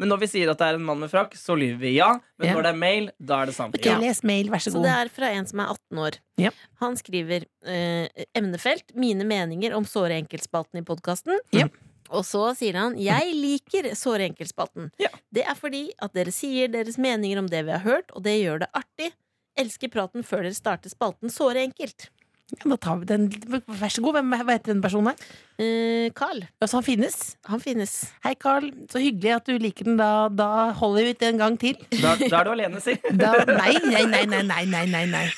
Men når vi sier at det er en mann med frakk, så lyver vi ja. Men Ja. når det er mail, da er det sant. Ok, les mail, vær så Så god. det er fra en som er 18 år. Ja. Han skriver eh, emnefelt 'Mine meninger om såre enkeltspalten i podkasten'. Ja. Og så sier han 'Jeg liker såre enkeltspalten'. Ja. Det er fordi at dere sier deres meninger om det vi har hørt, og det gjør det artig. Elsker praten før dere starter spalten såre enkelt. Ja, Da tar vi den. Vær så god, hvem hva heter den personen her? Eh, Carl, Altså, han finnes. han finnes. Hei, Carl. Så hyggelig at du liker den. Da, da holder vi ut en gang til. Da, da er du [laughs] alene, si. Da, nei, nei, nei, nei, nei, nei, nei, nei.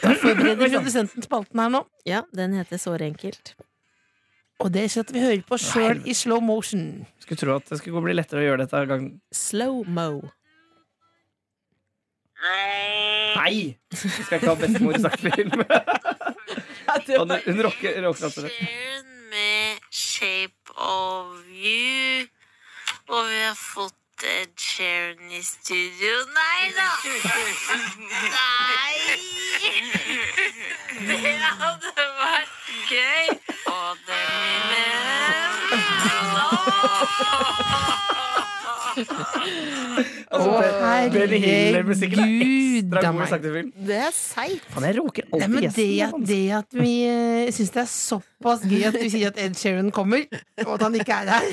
Da forbereder produsenten spalten her nå. Ja, den heter såre enkelt. Og det er sånn at vi hører på sjøl i slow motion. Skulle tro at det skulle bli lettere å gjøre dette en gang. Slow mo. Nei! Vi skal ikke ha bestemor i snakkefilm. [laughs] Og Hun hun rocker, rocker altså. Sharon med Shape of You. Og vi har fått Ed Sharon i studio. Nei da! Nei! Det hadde vært gøy. Og det mine Altså, Å, Benny Hill-musikken er herregud, ekstra da god i meg. snakkefilm. Det er seigt. Faen, jeg råker Nei, alltid men det, at, gjesten. det at vi uh, syns det er såpass gøy at du sier at Ed Sheeran kommer, og at han ikke er her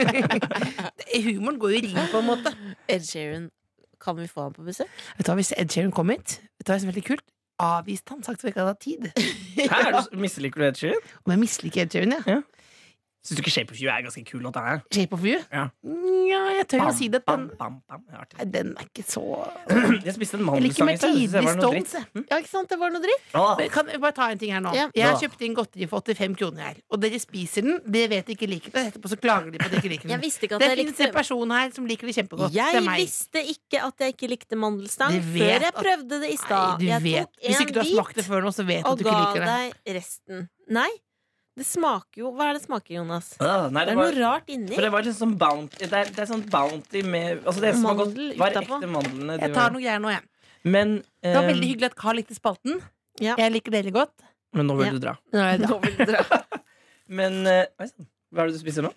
[laughs] Det- Humoren går jo i ring, på en måte. Ed Sheeran, kan vi få ham på besøk? Vet du hva, Hvis Ed Sheeran kom hit, vet du hva som er veldig kult? Avvist han, sagt at vi ikke hadde hatt tid. Hæ, er du- Misliker du Ed Sheeran? Om jeg misliker Ed Sheeran, ja. Syns du ikke Shape of You er ganske kul låt? da, hæ? Shape of you? Ja. Nja, jeg tør å si det. at Bam, Den, bam, bam. Det er artig. nei, den er ikke så Jeg spiste en Jeg liker mandelsang meg i sted. Jeg synes det tidlig var noe dritt. stolt. jeg. Ja, ikke sant? Det var noe dritt. Åh, Men Kan jeg bare ta en ting her nå? Ja. Jeg har Ja. kjøpt inn godteri for 85 kroner her. Og dere spiser den. Dere vet de ikke liker den. Etterpå så klager de på at de ikke liker Jeg den. visste ikke at jeg Det finnes en likte person her som liker det kjempegodt. det Jeg er meg. visste ikke at jeg ikke likte mandelstang Du vet før jeg at- prøvde det i Nei, stad. du Jeg vet. tok Hvis en ikke du har bit smakt det før nå, så vet du og at du ga ikke liker deg det. resten. Nei, Det smaker jo Hva er det smaker, Jonas? Ah, nei, Det det er var, noe rart inni. for det var liksom sånn bounty Det er, det er sånn bounty med altså det som var godt, Mandel var utapå. ekte mandlene. det Jeg tar var- noen greier nå, jeg. Men, Det var eh, veldig hyggelig at Carl likte spalten. Ja. Jeg liker dere godt. men nå vil Ja. du dra. Nå er det da. Nå vil dere- Men eh, oi sann, hva er det du spiser nå?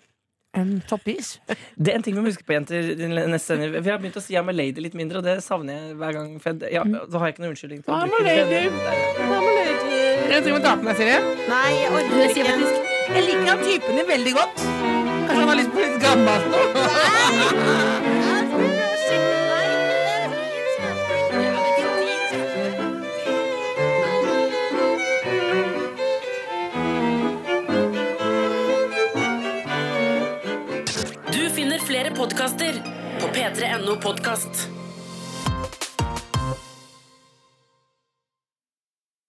Um, Toppis. Det er en ting vi må huske på, jenter. din neste sending. Vi har begynt å si jeg er med lady litt mindre, og det savner jeg hver gang. For jeg, ja, da har jeg ikke noen unnskyldning. til å I'm a bruke det. lady. Det Jeg tror vi tar på meg, Silje. Nei, jeg orker Jeg sier ikke. faktisk Jeg liker han typen din veldig godt. Kanskje han har lyst på litt gammelt nå? Du finner flere podkaster på p3.no podkast.